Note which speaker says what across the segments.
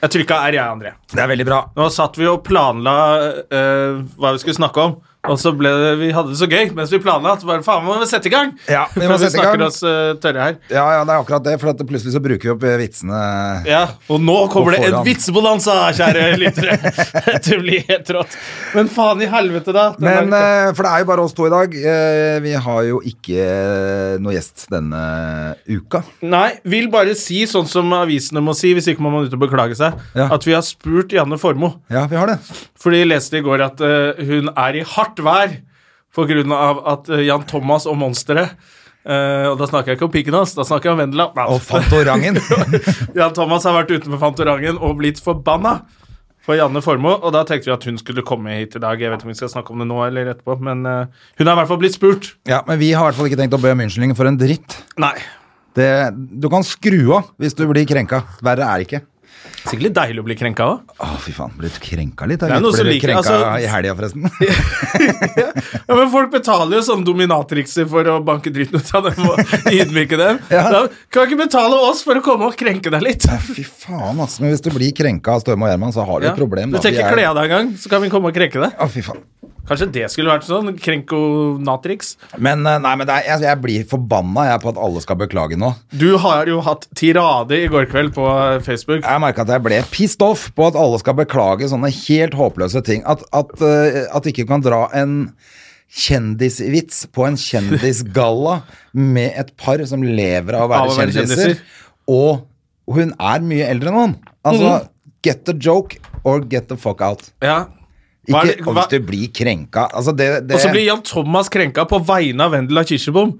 Speaker 1: Jeg trykka R, jeg, André.
Speaker 2: Det er veldig bra.
Speaker 1: Nå satt vi og planla eh, hva vi skulle snakke om, og så ble det, vi hadde det så gøy mens vi planla at bare faen, må vi sette i gang?
Speaker 2: Ja, vi må
Speaker 1: Før
Speaker 2: sette i gang.
Speaker 1: snakker oss eh, tørre her.
Speaker 2: Ja, ja, det er akkurat det, for at plutselig så bruker vi opp eh, vitsene.
Speaker 1: Ja, Og nå kommer
Speaker 2: Og
Speaker 1: det en
Speaker 2: foran.
Speaker 1: vitsebonanza, kjære lyttere! Dette blir helt rått. Men faen i helvete, da. Den
Speaker 2: Men, eh,
Speaker 1: er-
Speaker 2: for det er jo bare oss to i dag. Eh, Vi har jo ikke eh, noe gjest denne uka.
Speaker 1: Nei, vil bare si sånn som avisene må si, hvis ikke må man ut og beklage seg,
Speaker 2: Ja.
Speaker 1: at vi har spurt Janne Formoe.
Speaker 2: Ja, vi har det.
Speaker 1: Fordi jeg leste i går at eh, hun er i hardt vær på grunn av at eh, Jan Thomas og Monsteret eh, Og da snakker jeg ikke om pikken hans, da snakker jeg om Vendela. Nei.
Speaker 2: Og Fantorangen.
Speaker 1: Jan Thomas har vært utenfor Fantorangen og blitt forbanna for Janne Formoe, og da tenkte vi at hun skulle komme hit i dag. Jeg vet ikke om vi skal snakke om det nå eller etterpå, men eh, hun har i hvert fall blitt spurt.
Speaker 2: ja, men vi har i hvert fall ikke tenkt å be om unnskyldning for en dritt.
Speaker 1: Nei.
Speaker 2: Det, du kan skru av hvis du blir krenka. Verre er det ikke.
Speaker 1: Sikkert litt deilig å bli krenka òg.
Speaker 2: Å, fy faen. Blitt krenka litt?
Speaker 1: Det er
Speaker 2: Jeg
Speaker 1: noen
Speaker 2: ble
Speaker 1: som
Speaker 2: litt
Speaker 1: liker-
Speaker 2: krenka
Speaker 1: altså-
Speaker 2: i helga, forresten.
Speaker 1: Ja, men folk betaler jo sånne dominatrikser for å banke dritten ut av dem og ydmyke dem.
Speaker 2: Ja.
Speaker 1: Da kan ikke betale oss for å komme og krenke deg litt.
Speaker 2: Fy faen, altså. Men hvis du blir krenka av Støme og Gjerman, så har du
Speaker 1: Ja.
Speaker 2: et problem.
Speaker 1: Du
Speaker 2: da.
Speaker 1: trenger
Speaker 2: Vi
Speaker 1: ikke
Speaker 2: er-
Speaker 1: kle av deg engang, så kan vi komme og krenke deg.
Speaker 2: Å, fy faen.
Speaker 1: Kanskje det skulle vært sånn? Krenkonatrix.
Speaker 2: Men, eh, nei, men det er, jeg, jeg blir forbanna jeg, på at alle skal beklage nå.
Speaker 1: Du har jo hatt tirade i går kveld på eh, Facebook.
Speaker 2: Jeg merka at jeg ble pissed off på at alle skal beklage sånne helt håpløse ting. At, at, eh, at ikke du kan dra en kjendisvits på en kjendisgalla med et par som lever av å
Speaker 1: Av
Speaker 2: være
Speaker 1: å være
Speaker 2: kjendiser,
Speaker 1: kjendiser.
Speaker 2: og hun er mye eldre enn han. Altså,
Speaker 1: Mhm.
Speaker 2: get the joke or get the fuck out.
Speaker 1: Ja. Hva
Speaker 2: Ikke
Speaker 1: er det-
Speaker 2: og
Speaker 1: hva-
Speaker 2: hvis du blir krenka. Altså, det, det,
Speaker 1: Og så blir Jan Thomas krenka på vegne av Vendela Kirsebom.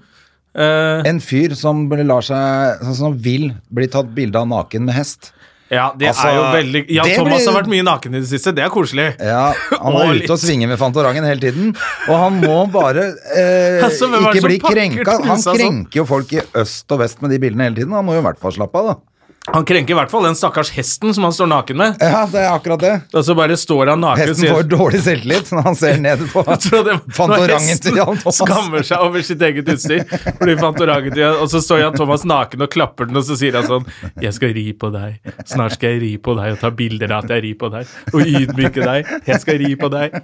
Speaker 1: Eh,
Speaker 2: en fyr som lar seg sånn Som vil bli tatt bilde av naken med hest.
Speaker 1: ja, det
Speaker 2: altså,
Speaker 1: er jo veldig Jan
Speaker 2: det
Speaker 1: Thomas
Speaker 2: blir-
Speaker 1: har vært mye naken i det siste. Det er koselig.
Speaker 2: Ja, Han
Speaker 1: Og
Speaker 2: er
Speaker 1: litt.
Speaker 2: ute og svinger med Fantorangen hele tiden. Og han må bare eh,
Speaker 1: Altså, hvem er
Speaker 2: ikke
Speaker 1: det som
Speaker 2: bli
Speaker 1: pakker
Speaker 2: krenka. Han
Speaker 1: trusa sånn?
Speaker 2: krenker jo folk i øst og vest med de bildene hele tiden. Han må jo i hvert fall slappe av, da.
Speaker 1: Han krenker i hvert fall den stakkars hesten som han står naken med.
Speaker 2: Ja, det er akkurat det.
Speaker 1: Og så bare står han naken og
Speaker 2: Hesten får dårlig selvtillit når han ser ned på
Speaker 1: Jeg tror det- når
Speaker 2: Fantorangen
Speaker 1: hesten
Speaker 2: til Jan Thomas.
Speaker 1: Skammer seg over sitt eget utstyr. Fordi Fantorangen til Og så står Jan Thomas naken og klapper den, og så sier han sånn Jeg skal ri på deg. Snart skal jeg ri på deg og ta bilder av at jeg rir på deg. Og ydmyke deg. Jeg skal ri på deg.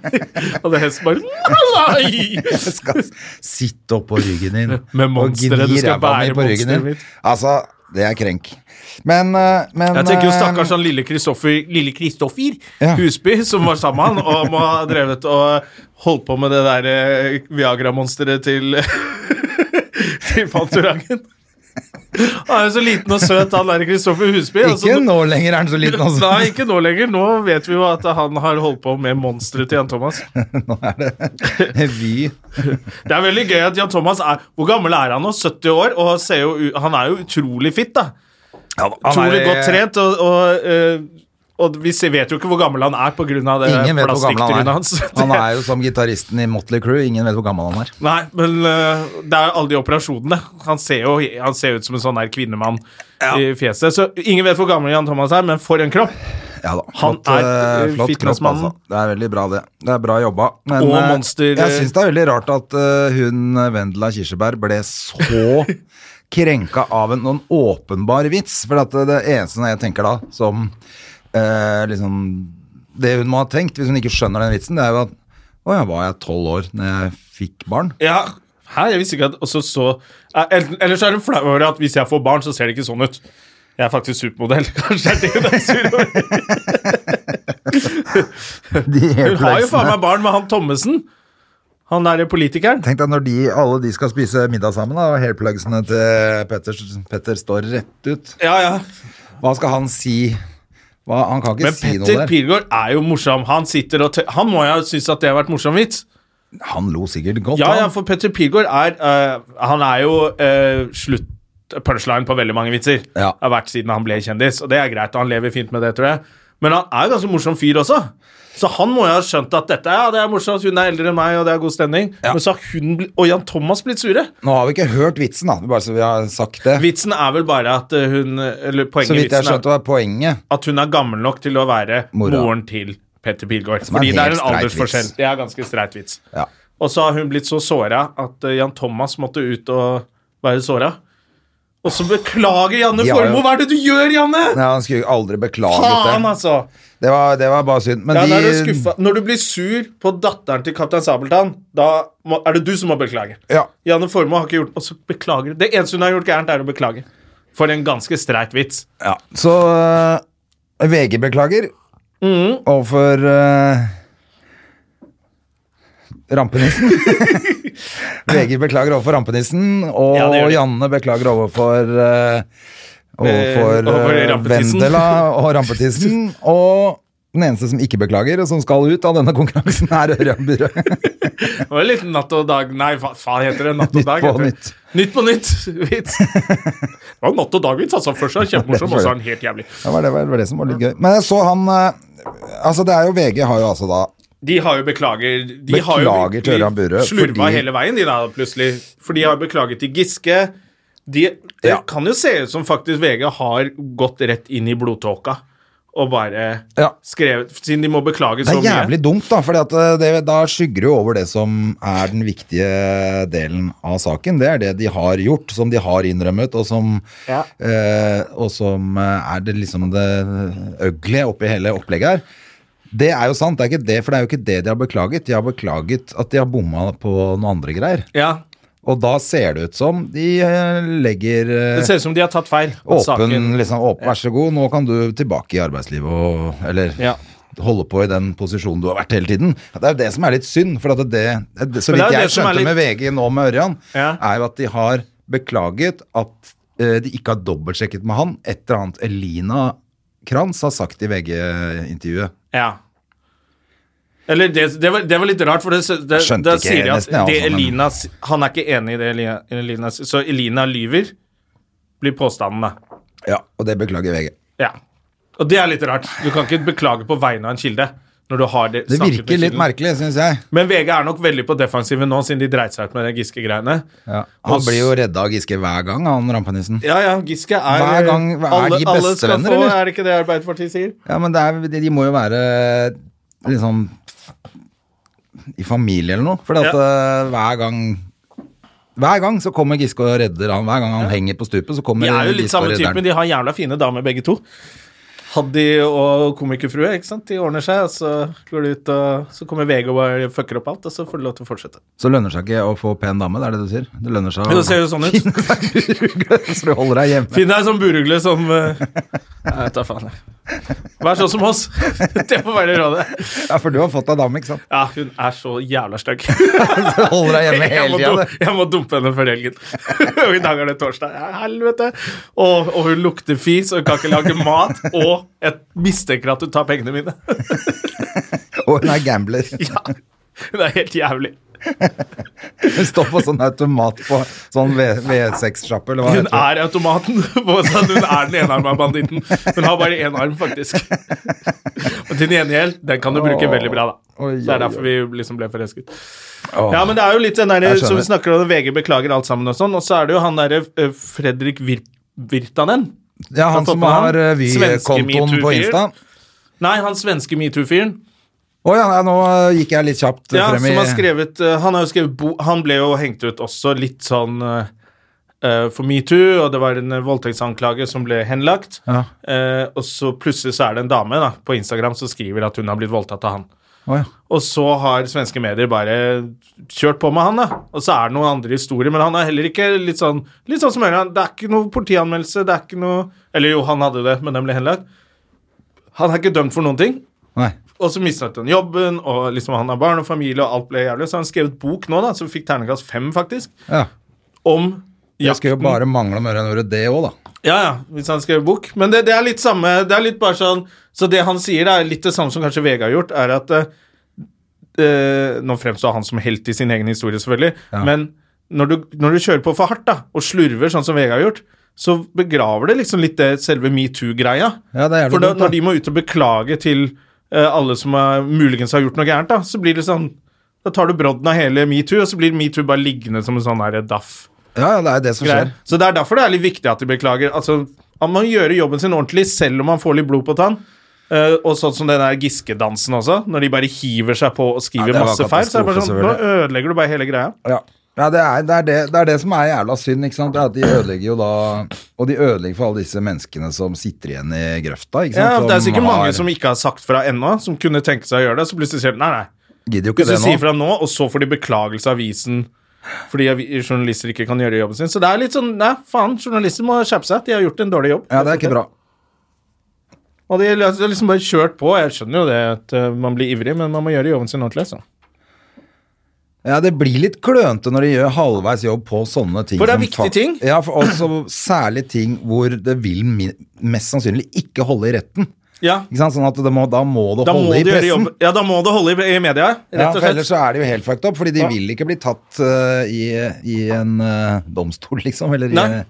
Speaker 1: Og det hesten bare Nei!
Speaker 2: Jeg skal sitte opp på ryggen din
Speaker 1: Med
Speaker 2: og
Speaker 1: monsteret, du
Speaker 2: gni
Speaker 1: skal
Speaker 2: ræva mi
Speaker 1: bære
Speaker 2: på ryggen
Speaker 1: monsteret
Speaker 2: din.
Speaker 1: mitt.
Speaker 2: Altså, det er krenk. Men, eh, men
Speaker 1: Jeg tenker jo stakkars
Speaker 2: eh,
Speaker 1: han lille Kristoffer, lille Kristoffer
Speaker 2: Ja.
Speaker 1: Husby, som var sammen med han, og må ha drevet og eh, holdt på med det der eh, Viagra-monsteret til til Fantorangen. Han er jo så liten og søt, han der Kristoffer Husby. og så-
Speaker 2: Ikke nå lenger er han så liten, altså.
Speaker 1: Altså, Nei, ikke nå lenger. Nå vet vi jo at han har holdt på med monsteret til Jan Thomas.
Speaker 2: Nå er det Vy.
Speaker 1: Det er veldig gøy at Jan Thomas er Hvor gammel er han nå? 70 år? Og han ser jo, u- han er jo utrolig fit, da. Utrolig godt trent, og, og, eh, og vi ser- vet jo ikke hvor gammel han er pga.
Speaker 2: Ingen vet hvor gammel han
Speaker 1: plastikktrynet
Speaker 2: er.
Speaker 1: hans.
Speaker 2: Han er jo som gitaristen i Motley Crew, ingen vet hvor gammel han er.
Speaker 1: Nei, men eh, det er jo alle de operasjonene. Han ser jo han ser ut som en sånn her kvinnemann i fjeset. Så ingen vet hvor gammel Jan Thomas er, men for en kropp!
Speaker 2: Ja da,
Speaker 1: Han
Speaker 2: flott,
Speaker 1: er,
Speaker 2: eh,
Speaker 1: eh,
Speaker 2: flott kropp,
Speaker 1: fitnessmannen.
Speaker 2: altså. Det er veldig bra, det. Det er bra jobba. Men,
Speaker 1: Og
Speaker 2: eh,
Speaker 1: monster-
Speaker 2: Jeg syns det er veldig rart at eh, hun eh, Vendela Kirsebær ble så krenka av en noen åpenbar vits. For at eh, det, det eneste jeg tenker da, som eh, liksom Det hun må ha tenkt, hvis hun ikke skjønner den vitsen, det er jo at å ja, var jeg tolv år da jeg fikk barn?
Speaker 1: Ja. Hæ, jeg visste ikke at også så Eh, el- Ellers er hun flau over at hvis jeg får barn, så ser det ikke sånn ut. Jeg er faktisk supermodell. Kanskje det er det hun er sur over.
Speaker 2: De
Speaker 1: Hun har jo faen meg barn med han Thommessen. Han der politikeren.
Speaker 2: Tenk deg når de, alle de skal spise middag sammen, da, og hairplugsene til Petter, Petter står rett ut.
Speaker 1: Ja, ja.
Speaker 2: Hva skal han si? Hva, han kan ikke
Speaker 1: Men
Speaker 2: si
Speaker 1: Petter
Speaker 2: noe der.
Speaker 1: Pilgaard er jo morsom. Han sitter og tø Han må jo synes at det har vært morsom vits.
Speaker 2: Han lo sikkert godt,
Speaker 1: Ja, ja,
Speaker 2: han.
Speaker 1: for Petter Pilgaard er eh, Han er jo eh, slutt punchline på veldig mange vitser.
Speaker 2: Ja.
Speaker 1: Har vært siden han ble kjendis, og det er greit, og han lever fint med det, tror jeg. Men han er jo ganske morsom fyr også. Så han må jo ha skjønt at dette ja, det er morsomt, hun er eldre enn meg, og det er god stemning.
Speaker 2: Ja.
Speaker 1: Men så har hun bli- og Jan Thomas blitt sure.
Speaker 2: Nå har vi ikke hørt vitsen, da, bare så vi har sagt det.
Speaker 1: Vitsen er vel bare at eh, hun Eller poenget
Speaker 2: så
Speaker 1: i
Speaker 2: vidt jeg har
Speaker 1: vitsen
Speaker 2: skjønt
Speaker 1: er
Speaker 2: var poenget.
Speaker 1: at hun er gammel nok til å være
Speaker 2: Mora.
Speaker 1: moren til Petter Pilgaard.
Speaker 2: er en
Speaker 1: Fordi det er
Speaker 2: helt
Speaker 1: en
Speaker 2: streit
Speaker 1: aldersforskjell.
Speaker 2: vits.
Speaker 1: Det er ganske streit vits.
Speaker 2: Ja.
Speaker 1: Og så har hun blitt så såra at eh, Jan Thomas måtte ut og være såra. Og så beklager Janne
Speaker 2: Ja, ja.
Speaker 1: Formoe! Hva er det du gjør, Janne?!
Speaker 2: Nei, han skulle jo aldri beklaget
Speaker 1: Faen,
Speaker 2: det.
Speaker 1: altså!
Speaker 2: Det var, det var bare synd. Men
Speaker 1: Ja, da er du
Speaker 2: de
Speaker 1: skuffa. Når du blir sur på datteren til kaptein Sabeltann, da må, er det du som må beklage.
Speaker 2: Ja.
Speaker 1: Janne Formoe har ikke gjort Og så beklager du. Det eneste hun har gjort gærent, er å beklage. For en ganske streit vits.
Speaker 2: ja. Så øh, VG beklager
Speaker 1: Mm.
Speaker 2: overfor øh, Rampenissen. VG beklager overfor Rampenissen, og
Speaker 1: Ja, det gjør de.
Speaker 2: Janne beklager overfor øh, Overfor
Speaker 1: Eh, overfor
Speaker 2: øh,
Speaker 1: Rampetissen.
Speaker 2: Vendela og Rampetissen. Og den eneste som ikke beklager, og som skal ut av denne konkurransen, er Ørjan Byrøe.
Speaker 1: Det var litt Natt og dag Nei, hva faen heter det? Natt og
Speaker 2: Nytt
Speaker 1: dag?
Speaker 2: på
Speaker 1: heter det.
Speaker 2: nytt.
Speaker 1: Nytt på nytt-vits. Det var Natt og dag-vits, altså. Først er han kjempemorsom, og så er han helt jævlig.
Speaker 2: Det var det, var- det var det som var litt gøy. Men jeg så han eh, Altså, det er jo VG har jo altså da
Speaker 1: De har jo beklager De har jo
Speaker 2: Beklager til
Speaker 1: virkelig
Speaker 2: Ørjan Burøe,
Speaker 1: Slurva
Speaker 2: fordi-
Speaker 1: hele veien, de da, plutselig. For de har beklaget til Giske. De, det
Speaker 2: Ja.
Speaker 1: kan jo se ut som faktisk VG har gått rett inn i blodtåka og bare
Speaker 2: Ja.
Speaker 1: skrevet Siden de må beklage
Speaker 2: Det er
Speaker 1: så mye.
Speaker 2: jævlig dumt, da, for da skygger det jo over det som er den viktige delen av saken. Det er det de har gjort, som de har innrømmet, og som,
Speaker 1: Ja.
Speaker 2: eh, og som eh, er det liksom det ugly oppi hele opplegget her. Det er jo sant, det er ikke det, for det er jo ikke det de har beklaget. De har beklaget at de har bomma på noen andre greier.
Speaker 1: Ja.
Speaker 2: Og da ser det ut som de eh, legger eh,
Speaker 1: Det ser ut som de har tatt feil. at saken-
Speaker 2: Åpen, liksom, åpen, vær så god, nå kan du tilbake i arbeidslivet og Eller
Speaker 1: Ja.
Speaker 2: holde på i den posisjonen du har vært hele tiden. Det er jo det som er litt synd, for at det, det Så vidt
Speaker 1: Men det er jo
Speaker 2: jeg
Speaker 1: det som er
Speaker 2: skjønte med VG nå med Ørjan,
Speaker 1: Ja.
Speaker 2: er jo at de har beklaget at eh, de ikke har dobbeltsjekket med han. Et eller annet Elina Kranz har sagt i VG-intervjuet.
Speaker 1: Ja. Eller det, det, var, det var litt rart, for det, det,
Speaker 2: Skjønte
Speaker 1: da
Speaker 2: ikke
Speaker 1: sier de at
Speaker 2: nesten, jeg,
Speaker 1: det
Speaker 2: altså, men-
Speaker 1: Elina, s- han er ikke enig i det Elina, Elina s- Så Elina lyver, blir påstanden, da.
Speaker 2: Ja, og det beklager VG.
Speaker 1: Ja. Og det er litt rart. Du kan ikke beklage på vegne av en kilde. Når du har det,
Speaker 2: Det
Speaker 1: snakket med
Speaker 2: virker litt
Speaker 1: kilden.
Speaker 2: merkelig, syns jeg.
Speaker 1: Men VG er nok veldig på defensiven nå, siden de dreit seg ut med de Giske-greiene.
Speaker 2: Ja. Han blir jo redda av Giske hver gang, han rampenissen.
Speaker 1: Ja, ja, Giske er
Speaker 2: Hver gang- er de
Speaker 1: alle, alle skal
Speaker 2: bestevenner,
Speaker 1: få,
Speaker 2: eller?
Speaker 1: er det ikke det Arbeiderpartiet sier?
Speaker 2: Ja, men det er, de, de må jo være liksom i familie eller noe. For at, eh, hver gang Hver gang så kommer Giske og redder han. Hver gang han henger på stupet, så kommer
Speaker 1: De er jo litt
Speaker 2: Giske og
Speaker 1: samme type,
Speaker 2: redder
Speaker 1: men
Speaker 2: han.
Speaker 1: de har jævla fine damer begge to. Haddy og komikerfrue, ikke sant. De ordner seg, og så går det ut, og så kommer VG og bare fucker opp alt, og så får du lov til å fortsette.
Speaker 2: Så lønner det seg ikke å få pen dame, det er det du sier? Det lønner seg
Speaker 1: Men det ser jo sånn ut.
Speaker 2: så du holder deg hjemme.
Speaker 1: Finn deg en sånn burugle som eh, Jeg vet da faen, jeg. Vær sånn som oss. Det får være rådet.
Speaker 2: Ja, for du har fått deg dame, ikke sant?
Speaker 1: Ja, hun er så jævla stygg.
Speaker 2: Du holder deg hjemme
Speaker 1: Jeg, må
Speaker 2: hele tida,
Speaker 1: dum- jeg må dumpe henne før helgen. Og I dag er det torsdag. Ja, helvete! Og, og hun lukter fis og kan ikke lage mat. Og jeg mistenker at hun tar pengene mine.
Speaker 2: du. Og hun er gambler.
Speaker 1: Ja, Hun er helt jævlig.
Speaker 2: Hun står på sånn automat på sånn V- V6-sjappe, eller hva
Speaker 1: Hun
Speaker 2: heter det?
Speaker 1: er automaten. på at Hun er den enarma banditten. Hun har bare én arm, faktisk. Og til gjengjeld, den kan du bruke veldig bra, da.
Speaker 2: Oi, oi,
Speaker 1: Det er
Speaker 2: oi.
Speaker 1: derfor vi liksom ble forelsket.
Speaker 2: Åh.
Speaker 1: Ja, men det er jo litt den der eh,
Speaker 2: Jeg skjønner.
Speaker 1: som vi snakker om, VG beklager alt sammen og sånn, og så er det jo han derre eh, Fredrik Vir Virtanen.
Speaker 2: Ja, han
Speaker 1: Kan
Speaker 2: som
Speaker 1: toppe han.
Speaker 2: har eh,
Speaker 1: Svenske
Speaker 2: Vy-kontoen på
Speaker 1: metoo-fyr.
Speaker 2: Insta.
Speaker 1: Nei, han svenske metoo-fyren.
Speaker 2: Å ja, nei, nå eh, gikk jeg litt kjapt eh,
Speaker 1: Ja,
Speaker 2: frem i
Speaker 1: som har skrevet eh, Han har jo skrevet bo, Han ble jo hengt ut også litt sånn eh, eh, for metoo, og det var en eh, voldtektsanklage som ble henlagt.
Speaker 2: Ja.
Speaker 1: Eh, og så plutselig så er det en dame da, på Instagram som skriver at hun har blitt voldtatt av han.
Speaker 2: Å, ja.
Speaker 1: Og så har svenske medier bare kjørt på med han, da. Og så er det noen andre historier, men han er heller ikke litt sånn Litt sånn som Ørjan. Det er ikke noe politianmeldelse, det er ikke noe Eller jo, han hadde det, men den ble henlagt. Han er ikke dømt for noen ting.
Speaker 2: Nei.
Speaker 1: Og så mistet han jobben, og liksom han har barn og familie, og alt ble jævlig. Så han skrev et bok nå, da, som fikk terningkast fem, faktisk,
Speaker 2: Ja.
Speaker 1: om
Speaker 2: Det skulle jo
Speaker 1: jakten.
Speaker 2: bare mangle om Ørjan gjorde det òg, da.
Speaker 1: Ja, ja, hvis han skrev bok. Men det, det er litt samme Det er litt bare sånn Så det han sier, da, er litt det samme som kanskje Vega har gjort, er at eh, eh, Nå fremstår han som helt i sin egen historie, selvfølgelig, men når du, når du kjører på for hardt da, og slurver, sånn som Vega har gjort, så begraver det liksom litt det selve metoo-greia.
Speaker 2: Ja, det er jævlig
Speaker 1: For da,
Speaker 2: dumt, da.
Speaker 1: når de må ut og beklage til eh, alle som er, muligens har gjort noe gærent, da, så blir det sånn Da tar du brodden av hele metoo, og så blir metoo bare liggende som en sånn her daff.
Speaker 2: Ja, ja, det er det som
Speaker 1: Greier.
Speaker 2: skjer.
Speaker 1: Så det er derfor det er litt viktig at de beklager. Altså, at man gjør jobben sin ordentlig, selv om man får litt blod på tann. Eh, og sånn som den der Giske-dansen også, når de bare hiver seg på og skriver
Speaker 2: Ja, det var
Speaker 1: masse feil. Så er det bare sånn, Nå
Speaker 2: katastrofe,
Speaker 1: ødelegger du bare hele greia.
Speaker 2: Ja. Ja, det er det, er det, det er det som er jævla synd, ikke sant? Det er at de ødelegger jo da Og de ødelegger for alle disse menneskene som sitter igjen i grøfta, ikke sant?
Speaker 1: Ja, det er
Speaker 2: Som
Speaker 1: sikkert
Speaker 2: har-
Speaker 1: mange som ikke har sagt fra ennå, som kunne tenke seg å gjøre det. Så plutselig sier de nei, nei.
Speaker 2: Gidder jo ikke
Speaker 1: Hvis
Speaker 2: det
Speaker 1: du
Speaker 2: nå.
Speaker 1: sier fra nå, og så får de beklagelse av avisen fordi avi- journalister ikke kan gjøre jobben sin. Så det er litt sånn Nei, faen, journalister må skjerpe seg. De har gjort en dårlig jobb.
Speaker 2: Ja, det er ikke bra.
Speaker 1: Og de har liksom bare kjørt på. Jeg skjønner jo det at eh, man blir ivrig, men man må gjøre jobben sin ordentlig. Så.
Speaker 2: Ja, det blir litt klønete når de gjør halvveis jobb på sånne ting.
Speaker 1: For det er
Speaker 2: som
Speaker 1: viktige
Speaker 2: fa-
Speaker 1: ting.
Speaker 2: Ja, for også særlig ting hvor det vil mi- mest sannsynlig ikke holde i retten.
Speaker 1: Ja,
Speaker 2: Ikke sant? Sånn at det må, da må det
Speaker 1: da må,
Speaker 2: holde i
Speaker 1: det gjøre
Speaker 2: pressen.
Speaker 1: jobb. ja, da må det holde i, i media,
Speaker 2: Ja,
Speaker 1: rett og
Speaker 2: for ellers
Speaker 1: slett.
Speaker 2: så er de jo helt fucked up, fordi de vil ikke bli tatt eh, i, i en eh, domstol, liksom, eller i
Speaker 1: Nei.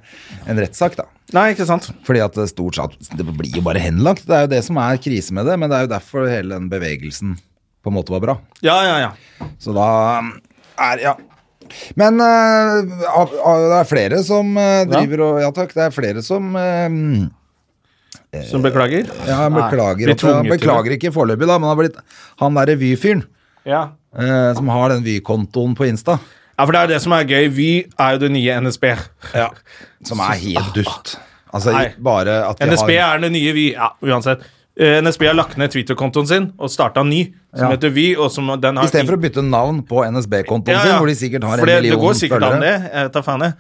Speaker 2: en rettssak, da.
Speaker 1: Nei, ikke sant.
Speaker 2: Fordi at det stort sett Det blir jo bare henlagt. Det er jo det som er krise med det, men det er jo derfor hele den bevegelsen på en måte var bra.
Speaker 1: Ja, ja, ja.
Speaker 2: Så da eh, er Ja. Men eh, av- av- det er flere som eh, driver og Ja takk, det er flere som eh,
Speaker 1: Som beklager.
Speaker 2: Ja, beklager,
Speaker 1: blir
Speaker 2: at, han
Speaker 1: tvunget til
Speaker 2: beklager ikke foreløpig, da, men han har blitt han derre Vy-fyren
Speaker 1: Ja.
Speaker 2: eh, som har den Vy-kontoen på Insta,
Speaker 1: ja, for det er det som er gøy. Vy er jo det nye NSB.
Speaker 2: som er helt dust. Altså
Speaker 1: Nei.
Speaker 2: bare at de
Speaker 1: NSB
Speaker 2: har
Speaker 1: er det nye Vy. Ja, uansett. Eh, NSB har lagt ned Twitter-kontoen sin og starta ny, som
Speaker 2: Ja.
Speaker 1: heter Vy. og som den har...
Speaker 2: Istedenfor å bytte navn på NSB-kontoen
Speaker 1: Ja,
Speaker 2: sin,
Speaker 1: ja.
Speaker 2: hvor de sikkert har
Speaker 1: For
Speaker 2: en
Speaker 1: det-
Speaker 2: million
Speaker 1: Det går sikkert
Speaker 2: følgere.
Speaker 1: an, det. Jeg vet da faen, jeg.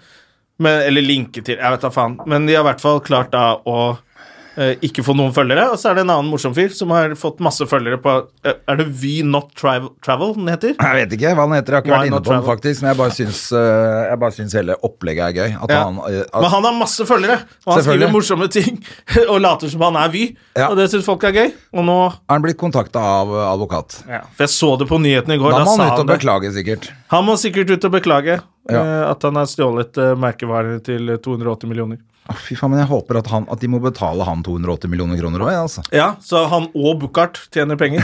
Speaker 1: Men, eller linke til Jeg vet da faen. Men de har i hvert fall klart da å eh, ikke få noen følgere. Og så er det en annen morsom fyr som har fått masse følgere på eh, Er det Vy Not Travel, travel den heter?
Speaker 2: Jeg vet ikke hva han heter, jeg har ikke
Speaker 1: Why
Speaker 2: vært inne
Speaker 1: not
Speaker 2: på den
Speaker 1: travel?
Speaker 2: faktisk, men jeg bare syns, øh, jeg bare syns hele opplegget er gøy. At
Speaker 1: Ja.
Speaker 2: han, øh, at,
Speaker 1: Men han har masse følgere, og han skriver
Speaker 2: Selvfølgelig.
Speaker 1: morsomme ting og later som han er Vy.
Speaker 2: Ja.
Speaker 1: Og det syns folk er gøy. Og nå
Speaker 2: er han blitt kontakta av øh, advokat?
Speaker 1: For jeg så det på nyhetene i går.
Speaker 2: Da
Speaker 1: Da,
Speaker 2: må
Speaker 1: sa
Speaker 2: han ut
Speaker 1: han
Speaker 2: og
Speaker 1: det.
Speaker 2: beklage, sikkert.
Speaker 1: Han må sikkert ut og beklage
Speaker 2: Ja.
Speaker 1: eh, at han har stjålet eh, merkevarer til 280 millioner.
Speaker 2: Å, Fy faen, men jeg håper at, han, at de må betale han 280 millioner kroner òg, jeg, altså.
Speaker 1: Ja, så han og Buchardt tjener penger.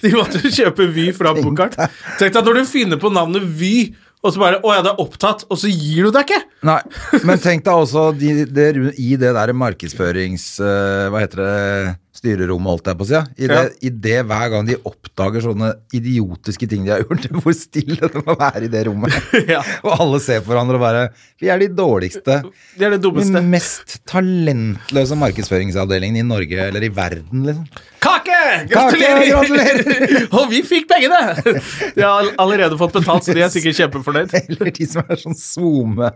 Speaker 1: De måtte jo kjøpe Vy fra Buchardt. Tenk deg når du finner på navnet Vy, og så bare Å ja, det er opptatt, og så gir du deg ikke!
Speaker 2: Nei, men tenk deg også de, det ru- i det der markedsførings... øh, hva heter det? Styrerommet, holdt jeg på å si. ja. I det,
Speaker 1: Ja.
Speaker 2: i det hver gang de oppdager sånne idiotiske ting de har gjort, hvor stille det må være i det rommet.
Speaker 1: Ja.
Speaker 2: Og alle ser på hverandre og bare Vi er de dårligste.
Speaker 1: Det er det dummeste.
Speaker 2: Den mest talentløse markedsføringsavdelingen i Norge, eller i verden, liksom.
Speaker 1: Kake!
Speaker 2: Kake,
Speaker 1: Gratulerer!
Speaker 2: gratulerer!
Speaker 1: og vi fikk pengene! De har all- allerede fått betalt, så de er sikkert kjempefornøyd.
Speaker 2: Eller de som er sånn zoome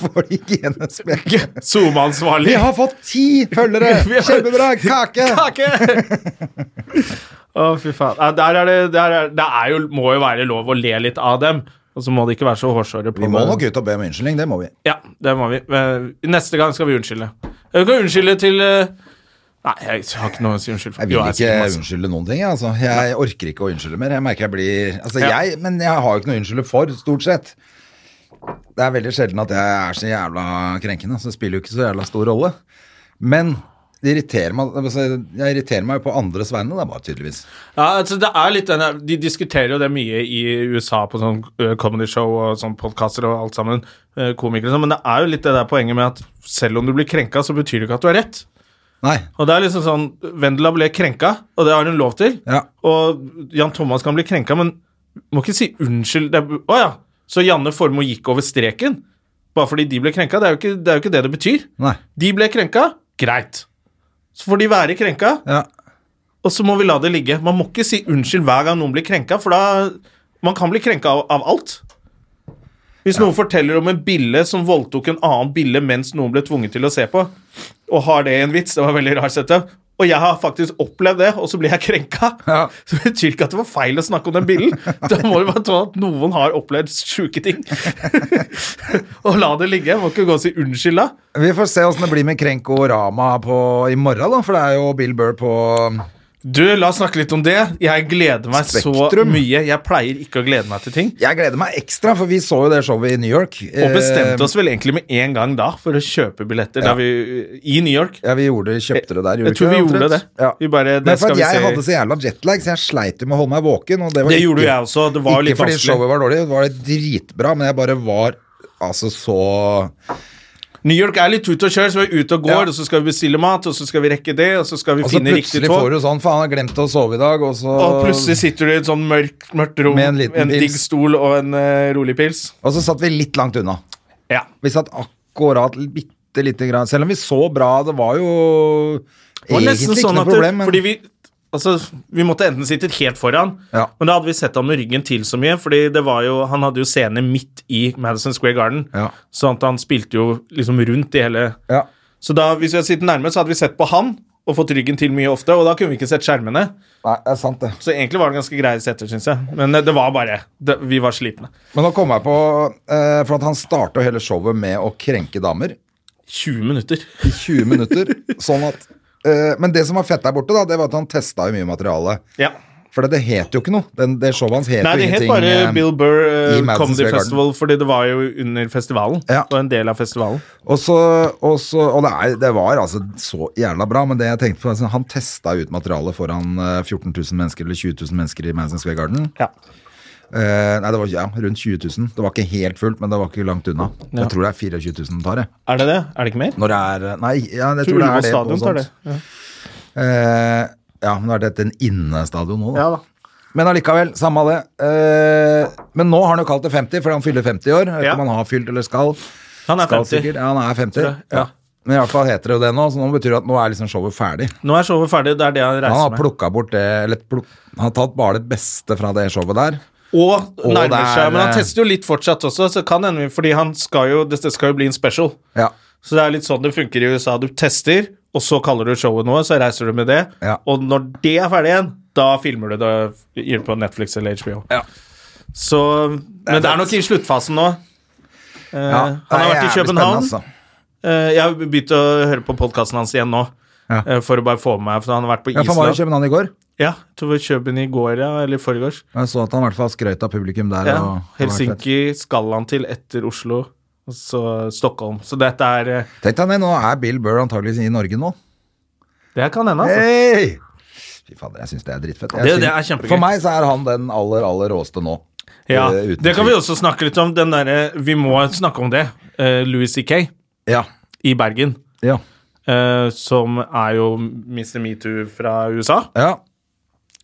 Speaker 2: folk i NSB. Vi
Speaker 1: SoMe-ansvarlig.
Speaker 2: har fått ti følgere!
Speaker 1: Vi har-
Speaker 2: Kjempebra! Kake!
Speaker 1: Kake! Å, fy faen. Ja, Der er det, der er, det er jo, må jo være lov å le litt av dem. Og så må det ikke være så hårsåre. på
Speaker 2: Vi må
Speaker 1: det.
Speaker 2: nok ut og be om unnskyldning, det må vi.
Speaker 1: Ja, det må vi. Eh, Neste gang skal vi unnskylde. Vi kan unnskylde til eh, Nei, jeg har ikke noe å si unnskyld for.
Speaker 2: Jeg vil
Speaker 1: Jo, jeg
Speaker 2: ikke
Speaker 1: sier masse.
Speaker 2: unnskylde noen ting. jeg, Altså. Jeg orker ikke å unnskylde mer. Jeg merker jeg blir altså,
Speaker 1: Ja.
Speaker 2: jeg, Men jeg har jo ikke noe å unnskylde for, stort sett. Det er veldig sjelden at jeg er så jævla krenkende, så det spiller jo ikke så jævla stor rolle. Men det irriterer meg altså, Jeg irriterer meg jo på andres vegne, da, bare tydeligvis.
Speaker 1: Ja, altså det er litt den der- De diskuterer jo det mye i USA på sånn eh, comedy show og sånn podkaster og alt sammen, eh, komikere og sånn, men det er jo litt det der poenget med at selv om du blir krenka, så betyr det ikke at du har rett.
Speaker 2: Nei.
Speaker 1: Og det er liksom sånn Vendela ble krenka, og det har hun lov til.
Speaker 2: Ja.
Speaker 1: Og Jan Thomas kan bli krenka, men må ikke si unnskyld. Det er, å ja, så Janne Formoe gikk over streken bare fordi de ble krenka? Det er jo ikke det er jo ikke det, det betyr.
Speaker 2: Nei.
Speaker 1: De ble krenka, greit. Så får de være krenka,
Speaker 2: Ja.
Speaker 1: og så må vi la det ligge. Man må ikke si unnskyld hver gang noen blir krenka, for da Man kan bli krenka av, av alt. Hvis noen forteller om en bille som voldtok en annen bille mens noen ble tvunget til å se på, og har det i en vits Det var veldig rar setup. Og jeg har faktisk opplevd det, og så blir jeg krenka.
Speaker 2: Ja.
Speaker 1: Så det betyr ikke at det var feil å snakke om den billen. Da må vi bare ta at noen har opplevd sjuke ting. og la det ligge. Må ikke gå og si unnskyld da.
Speaker 2: Vi får se åssen det blir med Krenkorama på, i morgen, da, for det er jo Bill Burr på
Speaker 1: Du, la oss snakke litt om det. Jeg gleder meg så
Speaker 2: Spektrum.
Speaker 1: mye. Jeg pleier ikke å glede meg til ting.
Speaker 2: Jeg gleder meg ekstra, for vi så jo det showet i New York.
Speaker 1: Og bestemte
Speaker 2: Eh,
Speaker 1: oss vel egentlig med en gang da for å kjøpe billetter da vi, i New York.
Speaker 2: Ja, vi gjorde, kjøpte det der.
Speaker 1: Jeg tror vi
Speaker 2: ikke
Speaker 1: gjorde det.
Speaker 2: Ja.
Speaker 1: Vi bare, det
Speaker 2: Men for
Speaker 1: skal
Speaker 2: at
Speaker 1: vi
Speaker 2: jeg
Speaker 1: se.
Speaker 2: hadde så jævla jetlag, så jeg sleit jo med å holde meg våken. Og det var
Speaker 1: Det
Speaker 2: ikke,
Speaker 1: gjorde jo jeg også. Det var jo litt
Speaker 2: ikke fordi
Speaker 1: vanskelig.
Speaker 2: showet var dårlig, det var dritbra, men jeg bare var altså så
Speaker 1: New York er litt ut og kjør, så vi er ute og går,
Speaker 2: Ja.
Speaker 1: og så skal vi bestille mat, og så skal vi rekke det, og så skal vi
Speaker 2: Og så
Speaker 1: finne riktig
Speaker 2: Altså, plutselig får
Speaker 1: tog.
Speaker 2: du sånn Faen, jeg glemte å sove i dag, og så
Speaker 1: Og plutselig sitter du i et sånn mørkt, mørkt rom
Speaker 2: Med en
Speaker 1: med
Speaker 2: liten
Speaker 1: en, digg
Speaker 2: pils.
Speaker 1: stol og en eh, rolig pils.
Speaker 2: Og så satt vi litt langt unna.
Speaker 1: Ja.
Speaker 2: Vi satt akkurat bitte lite grann Selv om vi så bra, det var jo
Speaker 1: Det var
Speaker 2: egentlig
Speaker 1: nesten
Speaker 2: ikke
Speaker 1: sånn
Speaker 2: noe
Speaker 1: at det-
Speaker 2: problem. Men
Speaker 1: Fordi vi, altså, vi måtte enten sitte helt foran,
Speaker 2: Ja.
Speaker 1: men da hadde vi sett han med ryggen til så mye, fordi det var jo, han hadde jo scene midt i Madison Square Garden,
Speaker 2: Ja.
Speaker 1: sånn at han spilte jo liksom rundt i hele...
Speaker 2: ja.
Speaker 1: Så da, hvis vi hadde sittet nærme, så hadde vi sett på han, og fått ryggen til mye ofte, og da kunne vi ikke sett skjermene.
Speaker 2: Nei, det er sant, det.
Speaker 1: Så egentlig var det ganske greie setter, synes jeg. Men eh, det var bare, det, vi var slitne.
Speaker 2: Men nå kom jeg på eh, For at han starta hele showet med å krenke damer.
Speaker 1: 20 minutter.
Speaker 2: 20 minutter. Sånn at eh, Men det som var fett der borte, da, det var at han testa jo mye materiale.
Speaker 1: Ja.
Speaker 2: For det, det het jo ikke noe. Den, det showet hans het
Speaker 1: Nei,
Speaker 2: jo
Speaker 1: det het
Speaker 2: ingenting.
Speaker 1: bare
Speaker 2: eh,
Speaker 1: Bill Burr eh,
Speaker 2: i Madison
Speaker 1: Comedy
Speaker 2: Square Garden.
Speaker 1: Festival, fordi det var jo under festivalen,
Speaker 2: Ja.
Speaker 1: og en del av festivalen.
Speaker 2: Og, så, og, så, og det, er, det var altså så jævla bra, men det jeg tenkte på altså, Han testa ut materialet foran eh, 14 000 mennesker eller 20 000 mennesker i Madison Square Garden.
Speaker 1: Ja.
Speaker 2: Eh, nei, det var ja, rundt 20 000. Det var ikke helt fullt, men det var ikke langt unna. Jeg tror det er 24 000 tar, jeg.
Speaker 1: Er det det? Er det ikke mer?
Speaker 2: Når det er eh, Nei, ja, jeg tror, det
Speaker 1: Ullevål
Speaker 2: er det. på
Speaker 1: stadion tar
Speaker 2: sånt.
Speaker 1: det. Ja.
Speaker 2: Eh, ja, men nå er dette en innestadion nå, da.
Speaker 1: Ja da.
Speaker 2: Men allikevel, samme av det. Eh, men nå har han jo kalt det 50, fordi han fyller 50 i år. Jeg vet ikke
Speaker 1: Ja.
Speaker 2: om han har fylt eller skal.
Speaker 1: Han er
Speaker 2: skal
Speaker 1: 50.
Speaker 2: sikkert. Ja, han er 50.
Speaker 1: Tror jeg, ja.
Speaker 2: Ja. Men i hvert fall heter det jo det nå, så nå betyr det at nå er liksom showet ferdig.
Speaker 1: Nå er showet ferdig, det er det han
Speaker 2: Han
Speaker 1: reiser
Speaker 2: har
Speaker 1: med.
Speaker 2: plukka bort det eller pluk Han har tatt bare det beste fra det showet der.
Speaker 1: Og
Speaker 2: Og
Speaker 1: nærmer
Speaker 2: det er- eh,
Speaker 1: seg, men han tester jo litt fortsatt også, så kan hende vi- fordi han skal jo, dette skal jo bli en special.
Speaker 2: Ja.
Speaker 1: Så det er litt sånn det funker i USA. Du tester, og så kaller du showet noe, så reiser du med det.
Speaker 2: Ja.
Speaker 1: Og når det er ferdig igjen, da filmer du det gir det på Netflix eller HBO.
Speaker 2: Ja.
Speaker 1: Så, men det er nok i sluttfasen nå. Eh,
Speaker 2: Ja,
Speaker 1: han
Speaker 2: det
Speaker 1: har
Speaker 2: er
Speaker 1: vært i
Speaker 2: jævlig spennende,
Speaker 1: København.
Speaker 2: altså.
Speaker 1: Eh, jeg har begynt å høre på podkasten hans igjen nå.
Speaker 2: Ja.
Speaker 1: eh, For å bare få med meg, for han har vært på
Speaker 2: Ja, for han var i
Speaker 1: Island.
Speaker 2: København i går.
Speaker 1: Ja, jeg tror vi kjøpte den i går, ja, eller i forgårs.
Speaker 2: Jeg så at han i hvert fall skrøt av publikum der.
Speaker 1: Ja.
Speaker 2: og-
Speaker 1: Helsinki skal han til etter Oslo, og så Stockholm. Så dette er eh,
Speaker 2: Tenk deg det, nå er Bill Burr antageligvis i Norge nå.
Speaker 1: Det kan hende, altså.
Speaker 2: Hei! Fy fader, jeg syns det er drittfett. Jeg
Speaker 1: Det- det
Speaker 2: synes-
Speaker 1: er kjempegøy.
Speaker 2: For meg så er han den aller, aller råeste nå.
Speaker 1: Ja,
Speaker 2: Eh, uten
Speaker 1: det kan
Speaker 2: tvil.
Speaker 1: vi også snakke litt om. Den derre Vi må snakke om det. Eh, Louis C.K.
Speaker 2: Ja.
Speaker 1: i Bergen,
Speaker 2: Ja.
Speaker 1: eh, som er jo Mr. Metoo fra USA.
Speaker 2: ja.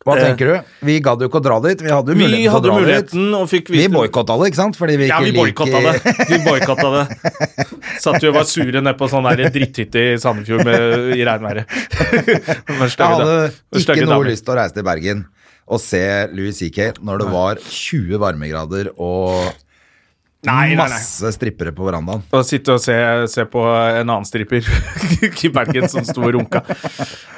Speaker 2: Hva
Speaker 1: Eh,
Speaker 2: tenker du? Vi gadd jo ikke å dra dit. Vi hadde jo muligheten
Speaker 1: Vi
Speaker 2: til å
Speaker 1: hadde
Speaker 2: dra dit.
Speaker 1: muligheten og fikk
Speaker 2: Vi
Speaker 1: vite
Speaker 2: boikotta det, ikke sant? Fordi vi ikke
Speaker 1: Ja, vi
Speaker 2: liker
Speaker 1: boikotta det. Vi boykottet det. Satt jo og var sure ned på sånn der dritthytte i Sandefjord med, i regnværet. Med
Speaker 2: Jeg
Speaker 1: stygge
Speaker 2: hadde
Speaker 1: da- med stygge
Speaker 2: ikke noe
Speaker 1: damer.
Speaker 2: lyst til å reise til Bergen og se Louis C.K. når det var 20 varmegrader og
Speaker 1: Nei, nei, nei.
Speaker 2: masse strippere på verandaen.
Speaker 1: Å sitte og se, se på en annen stripper i Bergen som sto og runka.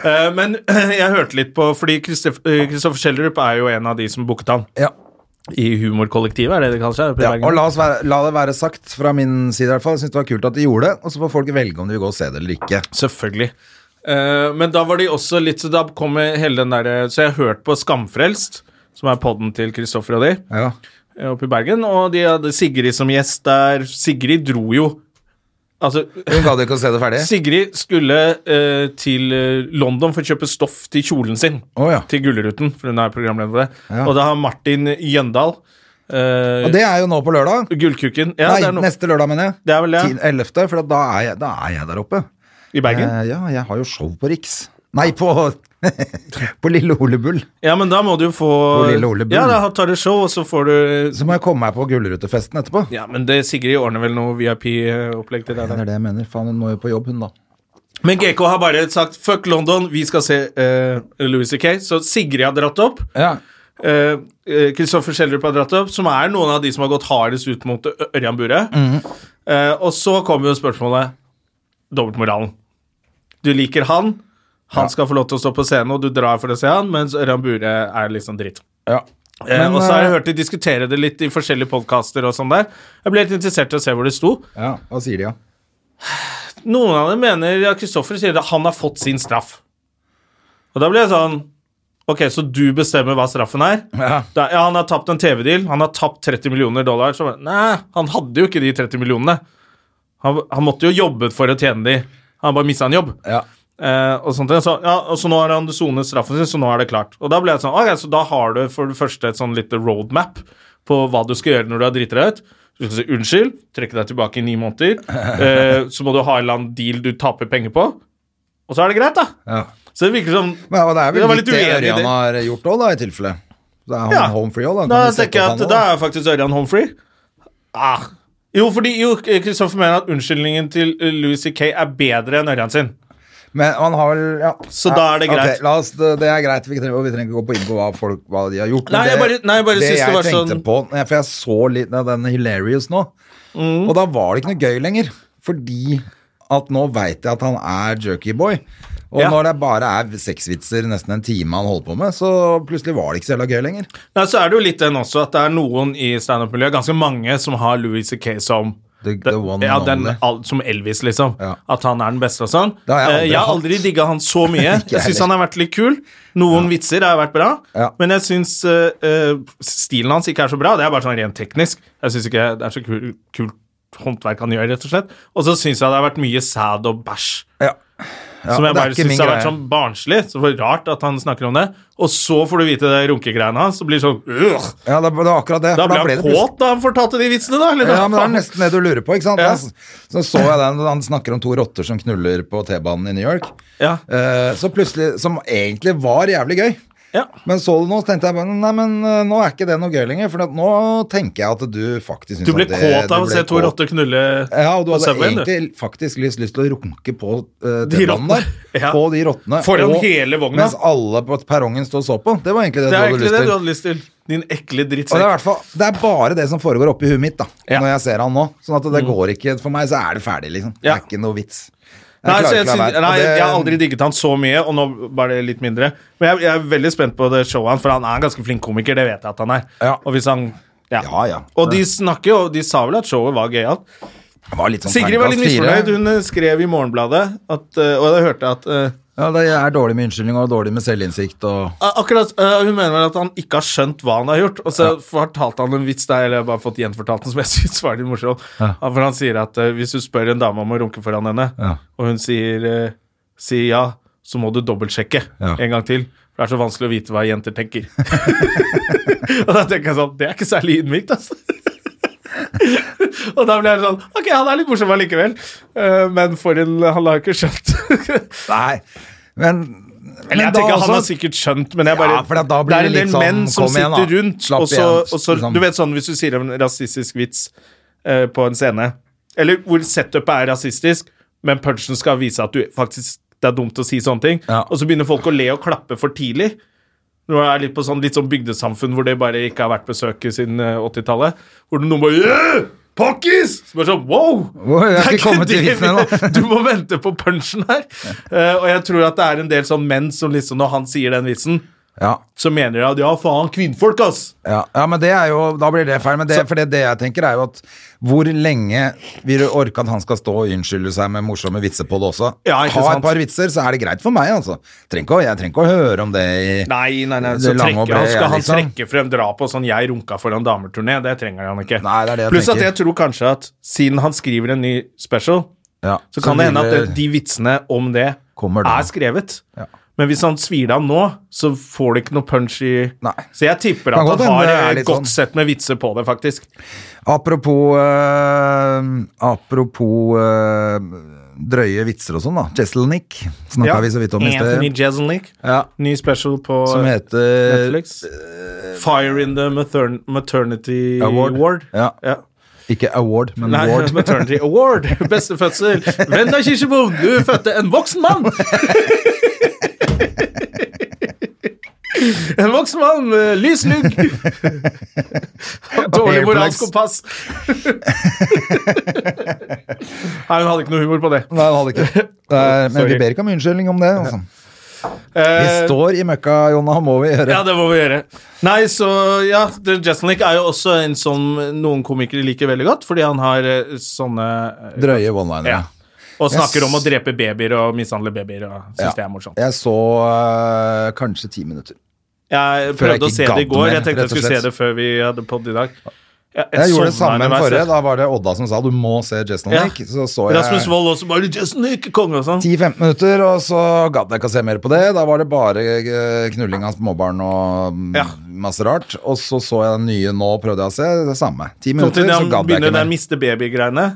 Speaker 1: Eh, Men jeg hørte litt på Fordi Kristoffer Schjelderup er jo en av de som booket han
Speaker 2: Ja.
Speaker 1: i humorkollektivet, er det det kalles? her, oppe i
Speaker 2: Ja,
Speaker 1: Bergen?
Speaker 2: og la, oss være, la det være sagt fra min side i hvert fall. Jeg syns det var kult at de gjorde det, og så får folk velge om de vil gå og se det eller ikke.
Speaker 1: Selvfølgelig. Eh, men da var de også litt Så da kom hele den derre Så jeg hørte på Skamfrelst, som er podden til Kristoffer og de,
Speaker 2: Ja.
Speaker 1: eh, oppe i Bergen, og de hadde Sigrid som gjest der. Sigrid dro jo Altså,
Speaker 2: Hun gadd ikke å se det ferdig?
Speaker 1: Sigrid skulle eh, til eh, London for å kjøpe stoff til kjolen sin.
Speaker 2: Å, ja.
Speaker 1: Til Gullruten, for hun er programleder for det.
Speaker 2: Ja.
Speaker 1: Og da har Martin Jøndal eh,
Speaker 2: Og det er jo nå på lørdag.
Speaker 1: Gullkuken. Ja,
Speaker 2: Nei,
Speaker 1: det er noe
Speaker 2: neste lørdag, mener jeg.
Speaker 1: Det er vel det.
Speaker 2: 10 11., for da er, jeg, da er jeg der oppe.
Speaker 1: i Bergen.
Speaker 2: Eh, ja, jeg har jo show på Riks. Nei, på, på Lille Ole Bull.
Speaker 1: Ja, men da må du få
Speaker 2: På Lille Ole Bull.
Speaker 1: Ja, da tar du show, og så får du
Speaker 2: Så må jeg komme meg på Gullrutefesten etterpå.
Speaker 1: Ja, men det Sigrid ordner vel noe VIP-opplegg til deg
Speaker 2: Det
Speaker 1: der.
Speaker 2: er det jeg mener. Faen, hun må jo på jobb, hun, da.
Speaker 1: Men GK har bare sagt 'fuck London, vi skal se eh, Louis C.K.', så Sigrid har dratt opp. eh, eh, Kristoffer Schjelderup har dratt opp, som er noen av de som har gått hardest ut mot Ø- Ørjan Burre.
Speaker 2: Mm.
Speaker 1: Eh, og så kommer jo spørsmålet dobbeltmoralen. Du liker han, han skal få lov til å stå på scenen, og du drar for å se han, mens Ørjan Burre er liksom dritt. Eh,
Speaker 2: Men,
Speaker 1: og så har jeg
Speaker 2: eh,
Speaker 1: hørt de diskutere det litt i forskjellige podkaster og sånn der. Jeg ble litt interessert i å se hvor det sto.
Speaker 2: Ja, Hva sier de, da?
Speaker 1: Noen av dem mener ja, Kristoffer sier at han har fått sin straff. Og da blir jeg sånn Ok, så du bestemmer hva straffen er?
Speaker 2: Ja.
Speaker 1: Da, ja han har tapt en TV-deal. Han har tapt 30 millioner dollar. Så, bare, nei, han hadde jo ikke de 30 millionene. Han, han måtte jo jobbet for å tjene de. Han bare mista en jobb.
Speaker 2: Ja.
Speaker 1: Eh, og sånt, så, ja, og så nå har han sonet straffen sin, så nå er det klart. Og da ble det sånn, ok, så da har du for det første et sånn lite roadmap på hva du skal gjøre når du har driti deg ut. Du skal si unnskyld, trekke deg tilbake i ni måneder. Eh, så må du ha en eller annen deal du taper penger på. Og så er det greit, da.
Speaker 2: Ja.
Speaker 1: Så det virker som
Speaker 2: Men, ja, det er
Speaker 1: Jeg
Speaker 2: vel
Speaker 1: var
Speaker 2: litt
Speaker 1: litt
Speaker 2: det
Speaker 1: uenig i det.
Speaker 2: Ørjan har gjort òg, da, i tilfelle. Da er han
Speaker 1: Ja.
Speaker 2: home free òg, da.
Speaker 1: Da
Speaker 2: Kan vi sette
Speaker 1: tenker jeg
Speaker 2: opp
Speaker 1: at
Speaker 2: han
Speaker 1: da
Speaker 2: også?
Speaker 1: er faktisk Ørjan Humphrey ah. Jo, fordi jo, Kristoffer mener at unnskyldningen til eh, Louis C.K. er bedre enn Ørjan sin.
Speaker 2: Men han har vel ja.
Speaker 1: Så
Speaker 2: Ja,
Speaker 1: da er det
Speaker 2: ok,
Speaker 1: greit.
Speaker 2: la oss, det, det er greit. Vi trenger, vi trenger ikke gå på inn på hva, folk, hva de har gjort. men
Speaker 1: Nei, jeg bare- nei, jeg bare
Speaker 2: det
Speaker 1: synes det
Speaker 2: jeg
Speaker 1: var
Speaker 2: tenkte
Speaker 1: sånn-
Speaker 2: på ja, For jeg så litt av den Hilarious nå,
Speaker 1: Mm.
Speaker 2: og da var det ikke noe gøy lenger. Fordi at nå veit jeg at han er jerkyboy. Og
Speaker 1: Ja.
Speaker 2: når det bare er sexvitser nesten en time han holder på med, så plutselig var det ikke så jævla gøy lenger.
Speaker 1: Nei, så er det jo litt den også at det er noen i standup-miljøet, ganske mange, som har Louis C.K. som
Speaker 2: The- the one and
Speaker 1: ja, den,
Speaker 2: only.
Speaker 1: al- Som Elvis, liksom.
Speaker 2: Ja.
Speaker 1: At han er den beste og sånn.
Speaker 2: Det har jeg
Speaker 1: Eh,
Speaker 2: aldri
Speaker 1: jeg har
Speaker 2: hatt.
Speaker 1: aldri digga han så mye.
Speaker 2: Ikke
Speaker 1: Jeg syns
Speaker 2: heller.
Speaker 1: han har vært litt kul. Noen vitser har vært bra,
Speaker 2: Ja.
Speaker 1: men jeg syns stilen hans ikke er så bra. Det er bare sånn rent teknisk. Jeg syns ikke det er så kul, kult håndverk han gjør, rett og slett. Og så syns jeg det har vært mye sæd og bæsj.
Speaker 2: Ja. Ja,
Speaker 1: Som jeg
Speaker 2: det er
Speaker 1: bare
Speaker 2: ikke min
Speaker 1: syns har vært
Speaker 2: greie.
Speaker 1: sånn barnslig. Så for Rart at han snakker om det. Og så får du vite det runkegreiene hans, og blir det sånn «Ugh!»
Speaker 2: Ja, det, det var akkurat det.
Speaker 1: Da
Speaker 2: for
Speaker 1: ble han
Speaker 2: plutselig-
Speaker 1: kåt da han fortalte de vitsene, da? Eller?
Speaker 2: Ja, men det er nesten det du lurer på, ikke sant?
Speaker 1: Ja.
Speaker 2: Jeg- Så så jeg den, han snakker om to rotter som knuller på T-banen i New York.
Speaker 1: Ja.
Speaker 2: Eh, så plutselig, som egentlig var jævlig gøy.
Speaker 1: Ja.
Speaker 2: Men så du nå, så tenkte jeg bare, nei, men eh, nå er ikke det noe gøy lenger, for at nå tenker jeg at du faktisk synes
Speaker 1: Du ble
Speaker 2: at Liksom, det-
Speaker 1: kåt av
Speaker 2: du
Speaker 1: å
Speaker 2: ble
Speaker 1: se to
Speaker 2: kåt.
Speaker 1: rotter knulle
Speaker 2: Ja, og du
Speaker 1: på
Speaker 2: hadde
Speaker 1: Subwayen, du.
Speaker 2: egentlig faktisk lyst, lyst til å runke på eh,
Speaker 1: De
Speaker 2: T-banen
Speaker 1: rottene.
Speaker 2: der.
Speaker 1: Ja.
Speaker 2: På de rottene.
Speaker 1: Foran
Speaker 2: og-
Speaker 1: hele vogna.
Speaker 2: Mens alle på perrongen stod og så på. Det var egentlig det,
Speaker 1: Det
Speaker 2: du
Speaker 1: er
Speaker 2: hadde lyst
Speaker 1: egentlig det
Speaker 2: til.
Speaker 1: du hadde lyst til. Din ekle
Speaker 2: Og det er, i
Speaker 1: drittsekk.
Speaker 2: hvert fall, det er bare det som foregår oppi huet mitt da,
Speaker 1: Ja. Mm.
Speaker 2: når jeg ser han nå. Sånn at det går ikke For meg så er det ferdig, liksom. Det
Speaker 1: Ja.
Speaker 2: er ikke noe vits. Jeg
Speaker 1: Nei,
Speaker 2: klarer
Speaker 1: så jeg,
Speaker 2: ikke å la
Speaker 1: syns-
Speaker 2: være. Og
Speaker 1: nei,
Speaker 2: det-
Speaker 1: jeg har aldri digget han så mye, og nå bare litt mindre. Men jeg, jeg er veldig spent på det showet hans, for han er en ganske flink komiker. Det vet jeg at han er.
Speaker 2: Ja.
Speaker 1: Og hvis han ja.
Speaker 2: Ja, ja.
Speaker 1: Og de snakker jo, de sa vel at showet var gøyalt.
Speaker 2: Det var litt sånn
Speaker 1: Sigrid var litt
Speaker 2: terningkast fire.
Speaker 1: misfornøyd. Hun eh, skrev i Morgenbladet, at, eh, og da hørte jeg at eh,
Speaker 2: Ja, det er dårlig med unnskyldning og dårlig med selvinnsikt og
Speaker 1: Ja, Akkurat, øh, Hun mener vel at han ikke har skjønt hva han har gjort. Og så fortalte han en vits der, eller jeg har bare fått gjenfortalt den, som jeg syns var litt morsom. For han sier at øh, hvis du spør en dame om å runke foran henne,
Speaker 2: Ja.
Speaker 1: og hun sier, øh, sier ja, så må du dobbeltsjekke
Speaker 2: Ja.
Speaker 1: en gang til. For det er så vanskelig å vite hva jenter tenker. og da tenker jeg sånn Det er ikke særlig ydmykt, altså. og da ble jeg sånn Ok, han er litt morsom allikevel, øh, men for en Han har jo ikke skjønt.
Speaker 2: Nei, men altså-
Speaker 1: Eller jeg tenker Han har sikkert skjønt, men jeg bare,
Speaker 2: Ja, for da blir
Speaker 1: det er en
Speaker 2: det litt
Speaker 1: del
Speaker 2: sånn,
Speaker 1: menn som
Speaker 2: kom igjen da,
Speaker 1: sitter rundt,
Speaker 2: slapp
Speaker 1: og så,
Speaker 2: igjen,
Speaker 1: og så
Speaker 2: liksom.
Speaker 1: Du vet sånn hvis du sier en rasistisk vits eh, på en scene, eller hvor setupet er rasistisk, men punchen skal vise at du faktisk det er dumt å si sånne ting,
Speaker 2: Ja.
Speaker 1: og så begynner folk å le og klappe for tidlig. Når det er litt på sånn, litt sånn bygdesamfunn hvor det bare ikke har vært besøket siden eh, 80-tallet. Hvor det noen bare «Yeah, Pakkis! Så bare sånn, wow!
Speaker 2: Wow, jeg har
Speaker 1: Det er
Speaker 2: ikke kommet til
Speaker 1: det
Speaker 2: vitsen ennå.
Speaker 1: vi- Du må vente på punchen her. Eh, og jeg tror at det er en del sånn menn som liksom, når han sier den vitsen,
Speaker 2: ja,
Speaker 1: så mener de at ja, faen, kvinnfolk, ass!
Speaker 2: ja, ja, men det er jo Da blir det feil. Men det, for det, det jeg tenker, er jo at hvor lenge vil du orke at han skal stå og unnskylde seg med morsomme vitser på det også?
Speaker 1: Ja, ikke
Speaker 2: ha
Speaker 1: sant?
Speaker 2: et par vitser, så er det greit for meg, altså. Trenger ikke, å- jeg trenger ikke å høre om det i
Speaker 1: Nei, nei, nei,
Speaker 2: Det
Speaker 1: så
Speaker 2: lange og
Speaker 1: trekker han,
Speaker 2: brede,
Speaker 1: skal han
Speaker 2: liksom.
Speaker 1: trekke frem drap og sånn 'jeg runka foran damerturné', det trenger han ikke.
Speaker 2: Nei, det er det jeg
Speaker 1: Pluss at
Speaker 2: tenker.
Speaker 1: jeg tror kanskje at siden han skriver en ny special,
Speaker 2: Ja,
Speaker 1: så kan det hende at
Speaker 2: vil-
Speaker 1: det, de vitsene om det
Speaker 2: Kommer da.
Speaker 1: er skrevet. Men hvis han svir det av nå, så får det ikke noe punch i
Speaker 2: Nei.
Speaker 1: Så jeg tipper
Speaker 2: Kan
Speaker 1: at
Speaker 2: godt
Speaker 1: han
Speaker 2: hende
Speaker 1: har
Speaker 2: det er
Speaker 1: eh,
Speaker 2: litt
Speaker 1: godt
Speaker 2: sånn.
Speaker 1: sett med vitser på det, faktisk.
Speaker 2: Apropos, eh, apropos eh, drøye vitser og sånn, da. Jesselnik snakka
Speaker 1: Ja.
Speaker 2: vi så vidt om i
Speaker 1: Anthony
Speaker 2: sted.
Speaker 1: Jeselnik.
Speaker 2: Ja.
Speaker 1: Ny special på
Speaker 2: Som
Speaker 1: eh,
Speaker 2: heter eh,
Speaker 1: Netflix. Fire in the matern Maternity
Speaker 2: Award.
Speaker 1: Award.
Speaker 2: Ja. Ikke award, men
Speaker 1: Nei,
Speaker 2: ward.
Speaker 1: Maternity Award. Beste fødsel. Venda Kirsebom, du fødte en voksen mann! En voksen mann med lys lugg. Dårlig
Speaker 2: hairplugs.
Speaker 1: moralsk kompass. Nei, hun hadde ikke noe humor på det.
Speaker 2: Nei, han hadde ikke. Det er, men vi
Speaker 1: Sorry.
Speaker 2: ber ikke om unnskyldning om det. Altså. Vi
Speaker 1: Eh,
Speaker 2: står i møkka, Jonna, må vi gjøre.
Speaker 1: Ja, det må vi gjøre. Nei, så ja, Jesselnik er jo også en som noen komikere liker veldig godt, fordi han har eh, sånne eh,
Speaker 2: Drøye one-linere.
Speaker 1: Ja. Og snakker
Speaker 2: Jeg s-
Speaker 1: om å drepe babyer og sånn. mishandle babyer og syns det er morsomt.
Speaker 2: Jeg så eh, kanskje ti minutter.
Speaker 1: Jeg
Speaker 2: Før jeg
Speaker 1: prøvde
Speaker 2: ikke
Speaker 1: å se
Speaker 2: gadd
Speaker 1: det i går.
Speaker 2: mer,
Speaker 1: Jeg tenkte
Speaker 2: rett og
Speaker 1: jeg skulle se
Speaker 2: slett.
Speaker 1: det før vi hadde podd i dag. Jeg,
Speaker 2: Jeg gjorde det samme
Speaker 1: sovna
Speaker 2: enn
Speaker 1: underveis,
Speaker 2: forrige.
Speaker 1: jeg.
Speaker 2: Da var det Odda som sa du må se Jason
Speaker 1: Ja.
Speaker 2: Lake. Så så jeg
Speaker 1: Rasmus Wold også bare 'Just Nick, konge' og sånn.
Speaker 2: 10-15 minutter, og så gadd jeg ikke å se mer på det. Da var det bare eh, knulling av småbarn og mm,
Speaker 1: Ja.
Speaker 2: masse rart. Og så så jeg den nye nå, prøvde jeg å se det samme. Ti
Speaker 1: Kom til
Speaker 2: minutter, så
Speaker 1: han
Speaker 2: gadd jeg
Speaker 1: begynner
Speaker 2: ikke
Speaker 1: den
Speaker 2: mer.
Speaker 1: miste baby-greiene.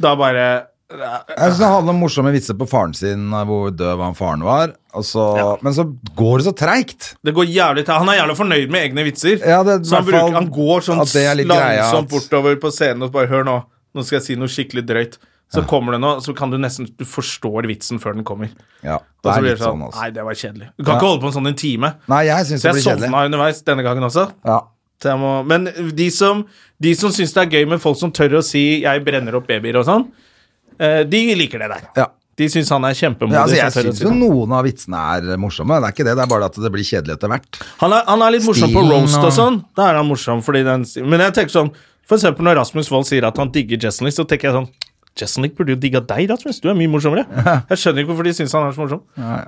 Speaker 1: Da bare
Speaker 2: Jeg synes Det handler om morsomme vitser på faren sin, eh, hvor døv han faren var. Og så, Men så går det så treigt.
Speaker 1: Det går jævlig til. Han er jævlig fornøyd med egne vitser.
Speaker 2: Ja, det er i
Speaker 1: så han,
Speaker 2: hvert fall
Speaker 1: bruker, han går sånn
Speaker 2: at det er litt greia at-
Speaker 1: langsomt bortover på scenen og bare 'Hør nå, nå skal jeg si noe skikkelig drøyt'. Så kommer det noe, så kan du nesten Du forstår vitsen før den kommer.
Speaker 2: Ja,
Speaker 1: Og
Speaker 2: det
Speaker 1: så
Speaker 2: er
Speaker 1: blir
Speaker 2: litt
Speaker 1: det sånn
Speaker 2: sånn også.
Speaker 1: Nei, det var kjedelig. Du kan ikke holde på en sånn en time.
Speaker 2: Nei, jeg syns
Speaker 1: Så
Speaker 2: det
Speaker 1: jeg
Speaker 2: blir kjedelig.
Speaker 1: sovna underveis denne gangen også.
Speaker 2: Ja.
Speaker 1: Så jeg må, men de som, de som syns det er gøy med folk som tør å si 'jeg brenner opp babyer' og sånn, eh, de liker det der.
Speaker 2: Ja.
Speaker 1: De syns han er kjempemodig.
Speaker 2: Ja, altså,
Speaker 1: som
Speaker 2: jeg
Speaker 1: tør å
Speaker 2: syns
Speaker 1: si
Speaker 2: jo
Speaker 1: det.
Speaker 2: noen av vitsene er morsomme, det er ikke det. Det er bare at det blir kjedelig etter hvert.
Speaker 1: han, er, han er litt morsom på
Speaker 2: Stilen
Speaker 1: roast og
Speaker 2: og-
Speaker 1: sånn. Da er han morsom fordi den Men jeg tenker sånn For eksempel når Rasmus Wold sier at han digger Jessenlick, så tenker jeg sånn Jessenlick burde jo digga deg, Rasmus. Du er mye morsommere. Jeg skjønner ikke hvorfor de syns han er så morsom.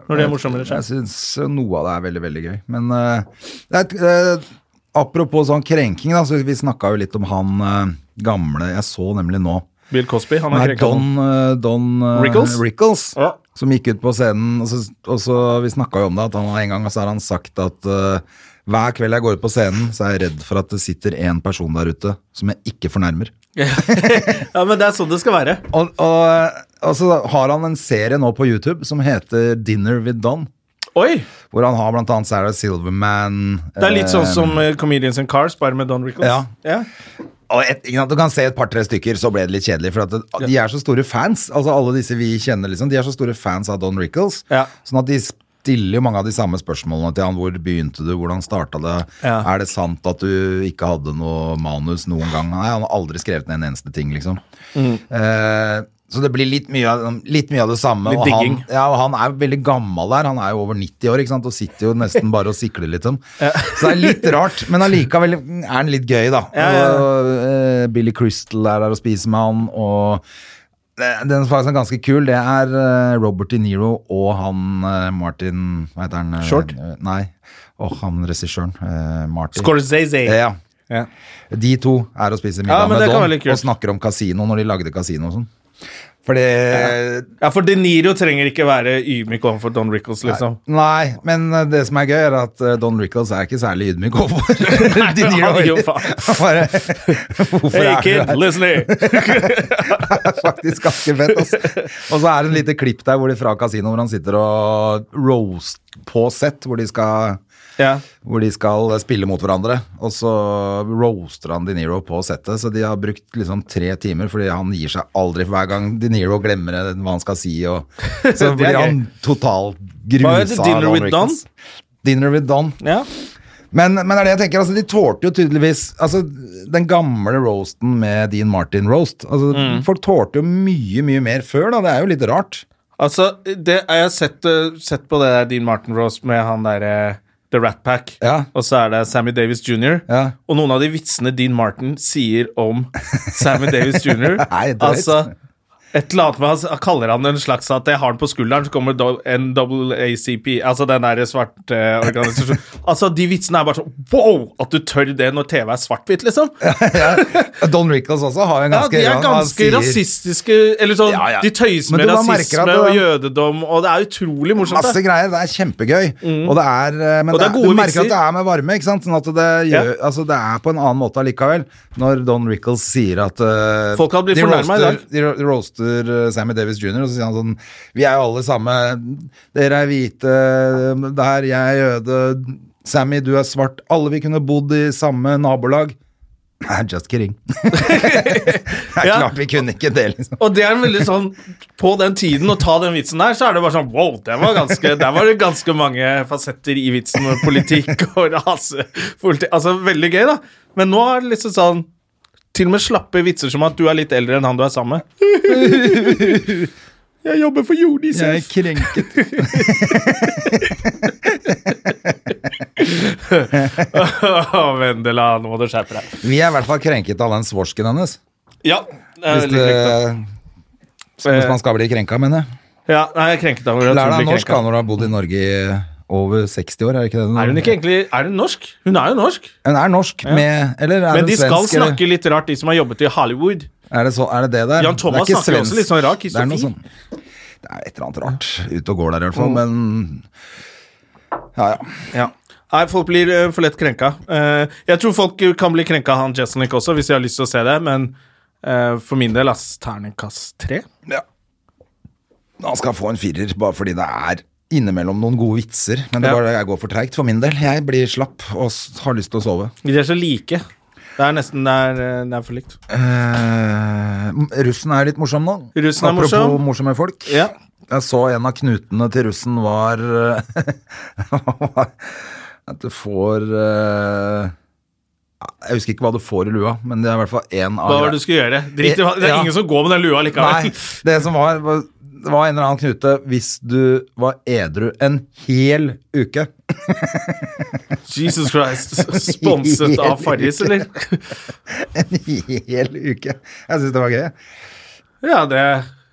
Speaker 1: Når de er morsommere
Speaker 2: Jeg
Speaker 1: selv.
Speaker 2: syns eh, noe av det er veldig, veldig gøy. Men eh, det er, et, eh, apropos sånn krenking, da, så vi snakka jo litt om han eh, gamle Jeg så nemlig nå
Speaker 1: Bill Cosby, han er
Speaker 2: Nei,
Speaker 1: krenka
Speaker 2: Don,
Speaker 1: nå.
Speaker 2: eh, Don eh,
Speaker 1: Rickles? Ja.
Speaker 2: Som gikk ut på scenen, og så, og så vi snakka jo om det, at han har en gang så har han sagt at eh, hver kveld jeg går ut på scenen, så er jeg redd for at det sitter en person der ute som jeg ikke fornærmer.
Speaker 1: Ja, men det er sånn det skal være.
Speaker 2: Og, og, og så har han en serie nå på YouTube som heter Dinner with Don.
Speaker 1: Oi!
Speaker 2: Hvor han har blant annet Sarah Silverman.
Speaker 1: Det er litt sånn
Speaker 2: eh,
Speaker 1: som eh, Comedians in Cars, bare med Don Rickles.
Speaker 2: Ja.
Speaker 1: ja.
Speaker 2: og et, ikke sant, Du kan se et par-tre stykker, så ble det litt kjedelig. For at det, de er så store fans. Altså Alle disse vi kjenner, liksom, de er så store fans av Don Rickles.
Speaker 1: Ja.
Speaker 2: Sånn at de stiller jo mange av de samme spørsmålene til han. Hvor begynte du? Hvordan starta det?
Speaker 1: Ja.
Speaker 2: Er det sant at du ikke hadde noe manus noen gang? Nei, han har aldri skrevet ned en eneste ting, liksom.
Speaker 1: Mm.
Speaker 2: Eh, så det blir litt mye av, litt mye av det samme.
Speaker 1: Litt
Speaker 2: og han,
Speaker 1: digging.
Speaker 2: ja, og han er jo veldig gammel der. Han er jo over 90 år ikke sant? og sitter jo nesten bare og sikler litt. Sånn. Så det er litt rart, men allikevel er han litt gøy, da.
Speaker 1: Ja, ja, ja.
Speaker 2: Og, eh, Billy Crystal er der og spiser med han, og eh, den som faktisk er ganske kul, det er eh, Robert De Niro og han eh, Martin Hva heter han? eh,
Speaker 1: Short?
Speaker 2: eh, Nei. Og han regissøren. eh, Martin.
Speaker 1: Scorsese.
Speaker 2: Eh, Ja.
Speaker 1: Ja.
Speaker 2: De to er og spiser
Speaker 1: Ja,
Speaker 2: middag
Speaker 1: men det
Speaker 2: med
Speaker 1: kan være litt
Speaker 2: Don
Speaker 1: kult.
Speaker 2: og snakker om kasino når de lagde kasino og sånn. Fordi
Speaker 1: Ja, for De Niro trenger ikke være ydmyk overfor Don Rickles, liksom.
Speaker 2: Nei, men eh, det som er gøy, er at eh, Don Rickles er ikke særlig ydmyk overfor De
Speaker 1: han
Speaker 2: Niro.
Speaker 1: gir jo faen.
Speaker 2: Han bare Hvorfor
Speaker 1: Hey
Speaker 2: er du
Speaker 1: kid,
Speaker 2: her?
Speaker 1: listen here!
Speaker 2: Det er faktisk ganske fett. ass. Og så er det en lite klipp der hvor de fra kasino hvor han sitter og roast på set, hvor de skal
Speaker 1: Ja.
Speaker 2: hvor de skal spille mot hverandre. Og så roaster han De Niro på settet, så de har brukt liksom tre timer, fordi han gir seg aldri for hver gang De Niro glemmer det, hva han skal si, og så
Speaker 1: Det er
Speaker 2: blir han totalt grusa.
Speaker 1: Hva heter
Speaker 2: av
Speaker 1: Dinner
Speaker 2: Don
Speaker 1: with Don?
Speaker 2: Rickles. Dinner with Don.
Speaker 1: ja.
Speaker 2: Men, men det er det jeg tenker, altså, de tålte jo tydeligvis altså, Den gamle roasten med Dean Martin roast. Altså,
Speaker 1: Mm.
Speaker 2: Folk tålte jo mye, mye mer før, da. Det er jo litt rart.
Speaker 1: Altså, det, jeg har sett, eh, sett på det der Dean Martin Rose med han derre The Rat Pack,
Speaker 2: Ja.
Speaker 1: og så er det Sammy Davis jr.
Speaker 2: Ja.
Speaker 1: Og noen av de vitsene Dean Martin sier om Sammy Davis jr.
Speaker 2: Nei, drøyt.
Speaker 1: altså, et eller annet med, han- han kaller han en slags at jeg har den på skulderen, så kommer do- NAACP, altså den der svarte eh, organisasjonen. altså, de vitsene er bare sånn wow! At du tør det når TV er svart-hvitt, liksom.
Speaker 2: Don Rickles også har jo en
Speaker 1: Ja,
Speaker 2: ganske
Speaker 1: de er
Speaker 2: han
Speaker 1: ganske
Speaker 2: sier-
Speaker 1: rasistiske Eller sånn,
Speaker 2: Ja, ja.
Speaker 1: de tøyser
Speaker 2: Men
Speaker 1: med
Speaker 2: du bare merker
Speaker 1: rasisme
Speaker 2: at
Speaker 1: og
Speaker 2: det-
Speaker 1: jødedom, og det er utrolig morsomt.
Speaker 2: Masse
Speaker 1: det.
Speaker 2: greier, det er kjempegøy. Og det er, eh, men
Speaker 1: Mm. Og det er
Speaker 2: det er
Speaker 1: gode
Speaker 2: du merker
Speaker 1: vitser.
Speaker 2: at det er med varme, ikke sant? Sånn at det, gjør, altså, det er på en annen måte allikevel. Når Don Rickles sier at eh,
Speaker 1: Folk hadde blitt
Speaker 2: de
Speaker 1: fornærmet i
Speaker 2: roaster-
Speaker 1: dag.
Speaker 2: De ro- roaster eh, Sammy Davis jr., og så sier han sånn Vi er jo alle samme. Dere er hvite, der jeg er jøde. Sammy, du er svart. Alle vi kunne bodd i samme nabolag. Nei, Just kidding. det er
Speaker 1: Ja.
Speaker 2: klart vi kunne ikke det, liksom.
Speaker 1: Og det er en veldig sånn På den tiden å ta den vitsen der, så er det bare sånn wow, der var, ganske, der var det ganske mange fasetter i vitsen med politikk og rasepolitikk. Altså, veldig gøy, da. Men nå er det liksom sånn Til og med slappe vitser som at du er litt eldre enn han du er sammen med. Jeg jobber for
Speaker 2: Jeg er
Speaker 1: Unicef.
Speaker 2: krenket.
Speaker 1: Å, Vendela, nå må du skjerpe deg.
Speaker 2: Vi er i hvert fall krenket av den svorsken hennes.
Speaker 1: Ja, det er
Speaker 2: Hvis,
Speaker 1: veldig kjekt. da.
Speaker 2: det, hvis man skal bli krenka, mener jeg.
Speaker 1: Ja, nei, jeg er krenket av
Speaker 2: Lær deg
Speaker 1: Lær
Speaker 2: norsk da, når du har bodd i Norge i over 60 år, er det ikke det?
Speaker 1: Er hun ikke egentlig Er hun norsk? Hun er jo norsk.
Speaker 2: Hun er norsk, med Eller er
Speaker 1: Men
Speaker 2: hun
Speaker 1: de skal
Speaker 2: svensk, eller?
Speaker 1: snakke litt rart, de som har jobbet i Hollywood.
Speaker 2: Er det, så, er det det der?
Speaker 1: Jan Thomas
Speaker 2: det er ikke
Speaker 1: snakker jo også
Speaker 2: svensk.
Speaker 1: litt sånn rar
Speaker 2: Det er noe
Speaker 1: kisofi.
Speaker 2: sånn Det er et eller annet rart ute og går der, i hvert fall. Men Ja, ja.
Speaker 1: Ja. Nei, folk blir eh, for lett krenka. Eh, jeg tror folk kan bli krenka av han Jesselnik også, hvis de har lyst til å se det, men eh, for min del, ass, terningkast tre.
Speaker 2: ja. Han skal få en firer, bare fordi det er innimellom noen gode vitser. Men det
Speaker 1: Ja.
Speaker 2: er bare jeg går for treigt for min del. Jeg blir slapp og s- har lyst til å sove.
Speaker 1: De er så like. Det er nesten det er, eh, det er for likt.
Speaker 2: Eh, russen er litt morsom nå.
Speaker 1: Russen er
Speaker 2: Apropos
Speaker 1: morsom.
Speaker 2: morsomme folk.
Speaker 1: Ja.
Speaker 2: Jeg så en av knutene til russen var eh, At du får eh, Jeg husker ikke hva du får i lua, men det er i hvert fall én av
Speaker 1: Hva var det du skulle gjøre? Drit i hva Det er
Speaker 2: Ja.
Speaker 1: ingen som går med den lua likevel.
Speaker 2: Nei, det som var, var det var en eller annen knute hvis du var edru en hel uke.
Speaker 1: Jesus Christ. Sponset av Farris, eller?
Speaker 2: En hel uke! Jeg syns det var gøy.
Speaker 1: Ja, det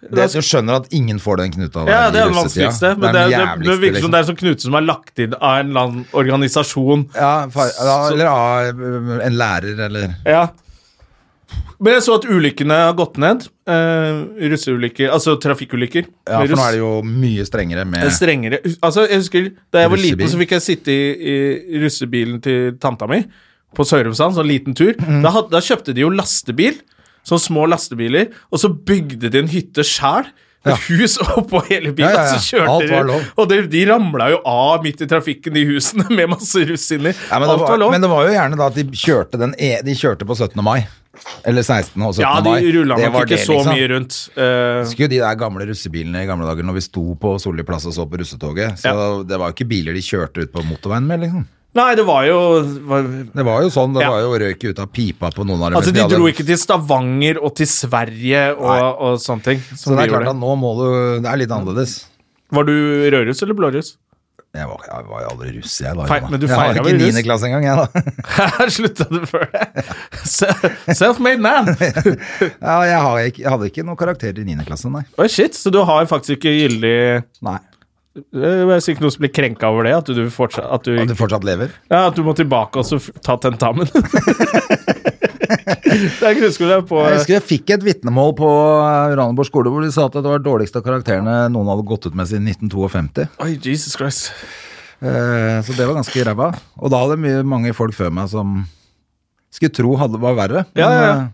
Speaker 2: Det, du skjønner at ingen får den knuta. der
Speaker 1: ja,
Speaker 2: i
Speaker 1: det er den
Speaker 2: russetida.
Speaker 1: vanskeligste. Men det,
Speaker 2: den
Speaker 1: er, det, det,
Speaker 2: jævligste,
Speaker 1: virker
Speaker 2: liksom.
Speaker 1: som det er sånn Knute som er lagt inn av en eller annen organisasjon.
Speaker 2: Ja, far, ja, eller ja, en lærer, eller
Speaker 1: Ja. Men jeg så at ulykkene har gått ned. Eh, russeulykker Altså trafikkulykker.
Speaker 2: Ja, for nå er det jo mye strengere med
Speaker 1: Strengere Altså, jeg husker da jeg var liten,
Speaker 2: Russebil.
Speaker 1: så fikk jeg sitte i, i russebilen til tanta mi på Sørumsand, sånn liten tur.
Speaker 2: Mhm.
Speaker 1: Da, had, da kjøpte de jo lastebil, sånn små lastebiler, og så bygde de en hytte sjæl. Med hus oppå hele bilen,
Speaker 2: Ja, ja, ja.
Speaker 1: og så kjørte
Speaker 2: Alt var
Speaker 1: de-
Speaker 2: lov.
Speaker 1: Og de, de ramla jo av midt i trafikken, de husene, med masse russ inni.
Speaker 2: ja, men, det
Speaker 1: Alt var
Speaker 2: var,
Speaker 1: lov.
Speaker 2: men det var jo gjerne da at de kjørte, den e, de kjørte på 17. mai. Eller 16. og 17.
Speaker 1: Ja,
Speaker 2: mai.
Speaker 1: de rulla
Speaker 2: Det
Speaker 1: nok
Speaker 2: var
Speaker 1: ikke
Speaker 2: det,
Speaker 1: så
Speaker 2: liksom.
Speaker 1: mye rundt. Eh,
Speaker 2: Husker jo de der gamle russebilene i gamle dager når vi sto på Solli plass og så på russetoget. Så det var jo ikke biler de kjørte ut på motorveien med, liksom.
Speaker 1: nei, det var jo var,
Speaker 2: Det var jo sånn. Det
Speaker 1: Ja.
Speaker 2: var jo røyk ut av pipa på noen av dem.
Speaker 1: Altså,
Speaker 2: hvis
Speaker 1: de
Speaker 2: hadde-
Speaker 1: dro ikke til Stavanger og til Sverige og, og sånne ting.
Speaker 2: Så
Speaker 1: Som
Speaker 2: det
Speaker 1: vi
Speaker 2: er klart at
Speaker 1: gjorde.
Speaker 2: nå må du Det er litt annerledes.
Speaker 1: Var du rødruss eller blåruss?
Speaker 2: Jeg var, jeg var jo aldri russ, jeg. da
Speaker 1: Feir-
Speaker 2: Jonas.
Speaker 1: men du
Speaker 2: jeg
Speaker 1: feira
Speaker 2: var
Speaker 1: vel
Speaker 2: ikke i
Speaker 1: russ?
Speaker 2: 9. klasse engang, jeg, da.
Speaker 1: Slutta du før det? Se- Self-made man!
Speaker 2: Ja, jeg, har ikke, jeg hadde ikke noen karakterer i 9. klasse, nei.
Speaker 1: Oi, shit, så du har faktisk ikke gyldig eh,
Speaker 2: nei.
Speaker 1: Det er sikkert noen som blir krenka over det, at du, fortsatt, at
Speaker 2: At
Speaker 1: du,
Speaker 2: du fortsatt lever?
Speaker 1: ja, at du må tilbake og så f- ta tentamen. det er grunnskole på eh,
Speaker 2: Jeg husker jeg fikk et vitnemål på Uranienborg skole hvor de sa at det var dårligste av karakterene noen hadde gått ut med siden 1952.
Speaker 1: Oi, Jesus Christ.
Speaker 2: Eh, Så det var ganske ræva. Og da hadde mye, mange folk før meg som skulle tro hadde, var verre.
Speaker 1: Ja, ja, ja.
Speaker 2: eh,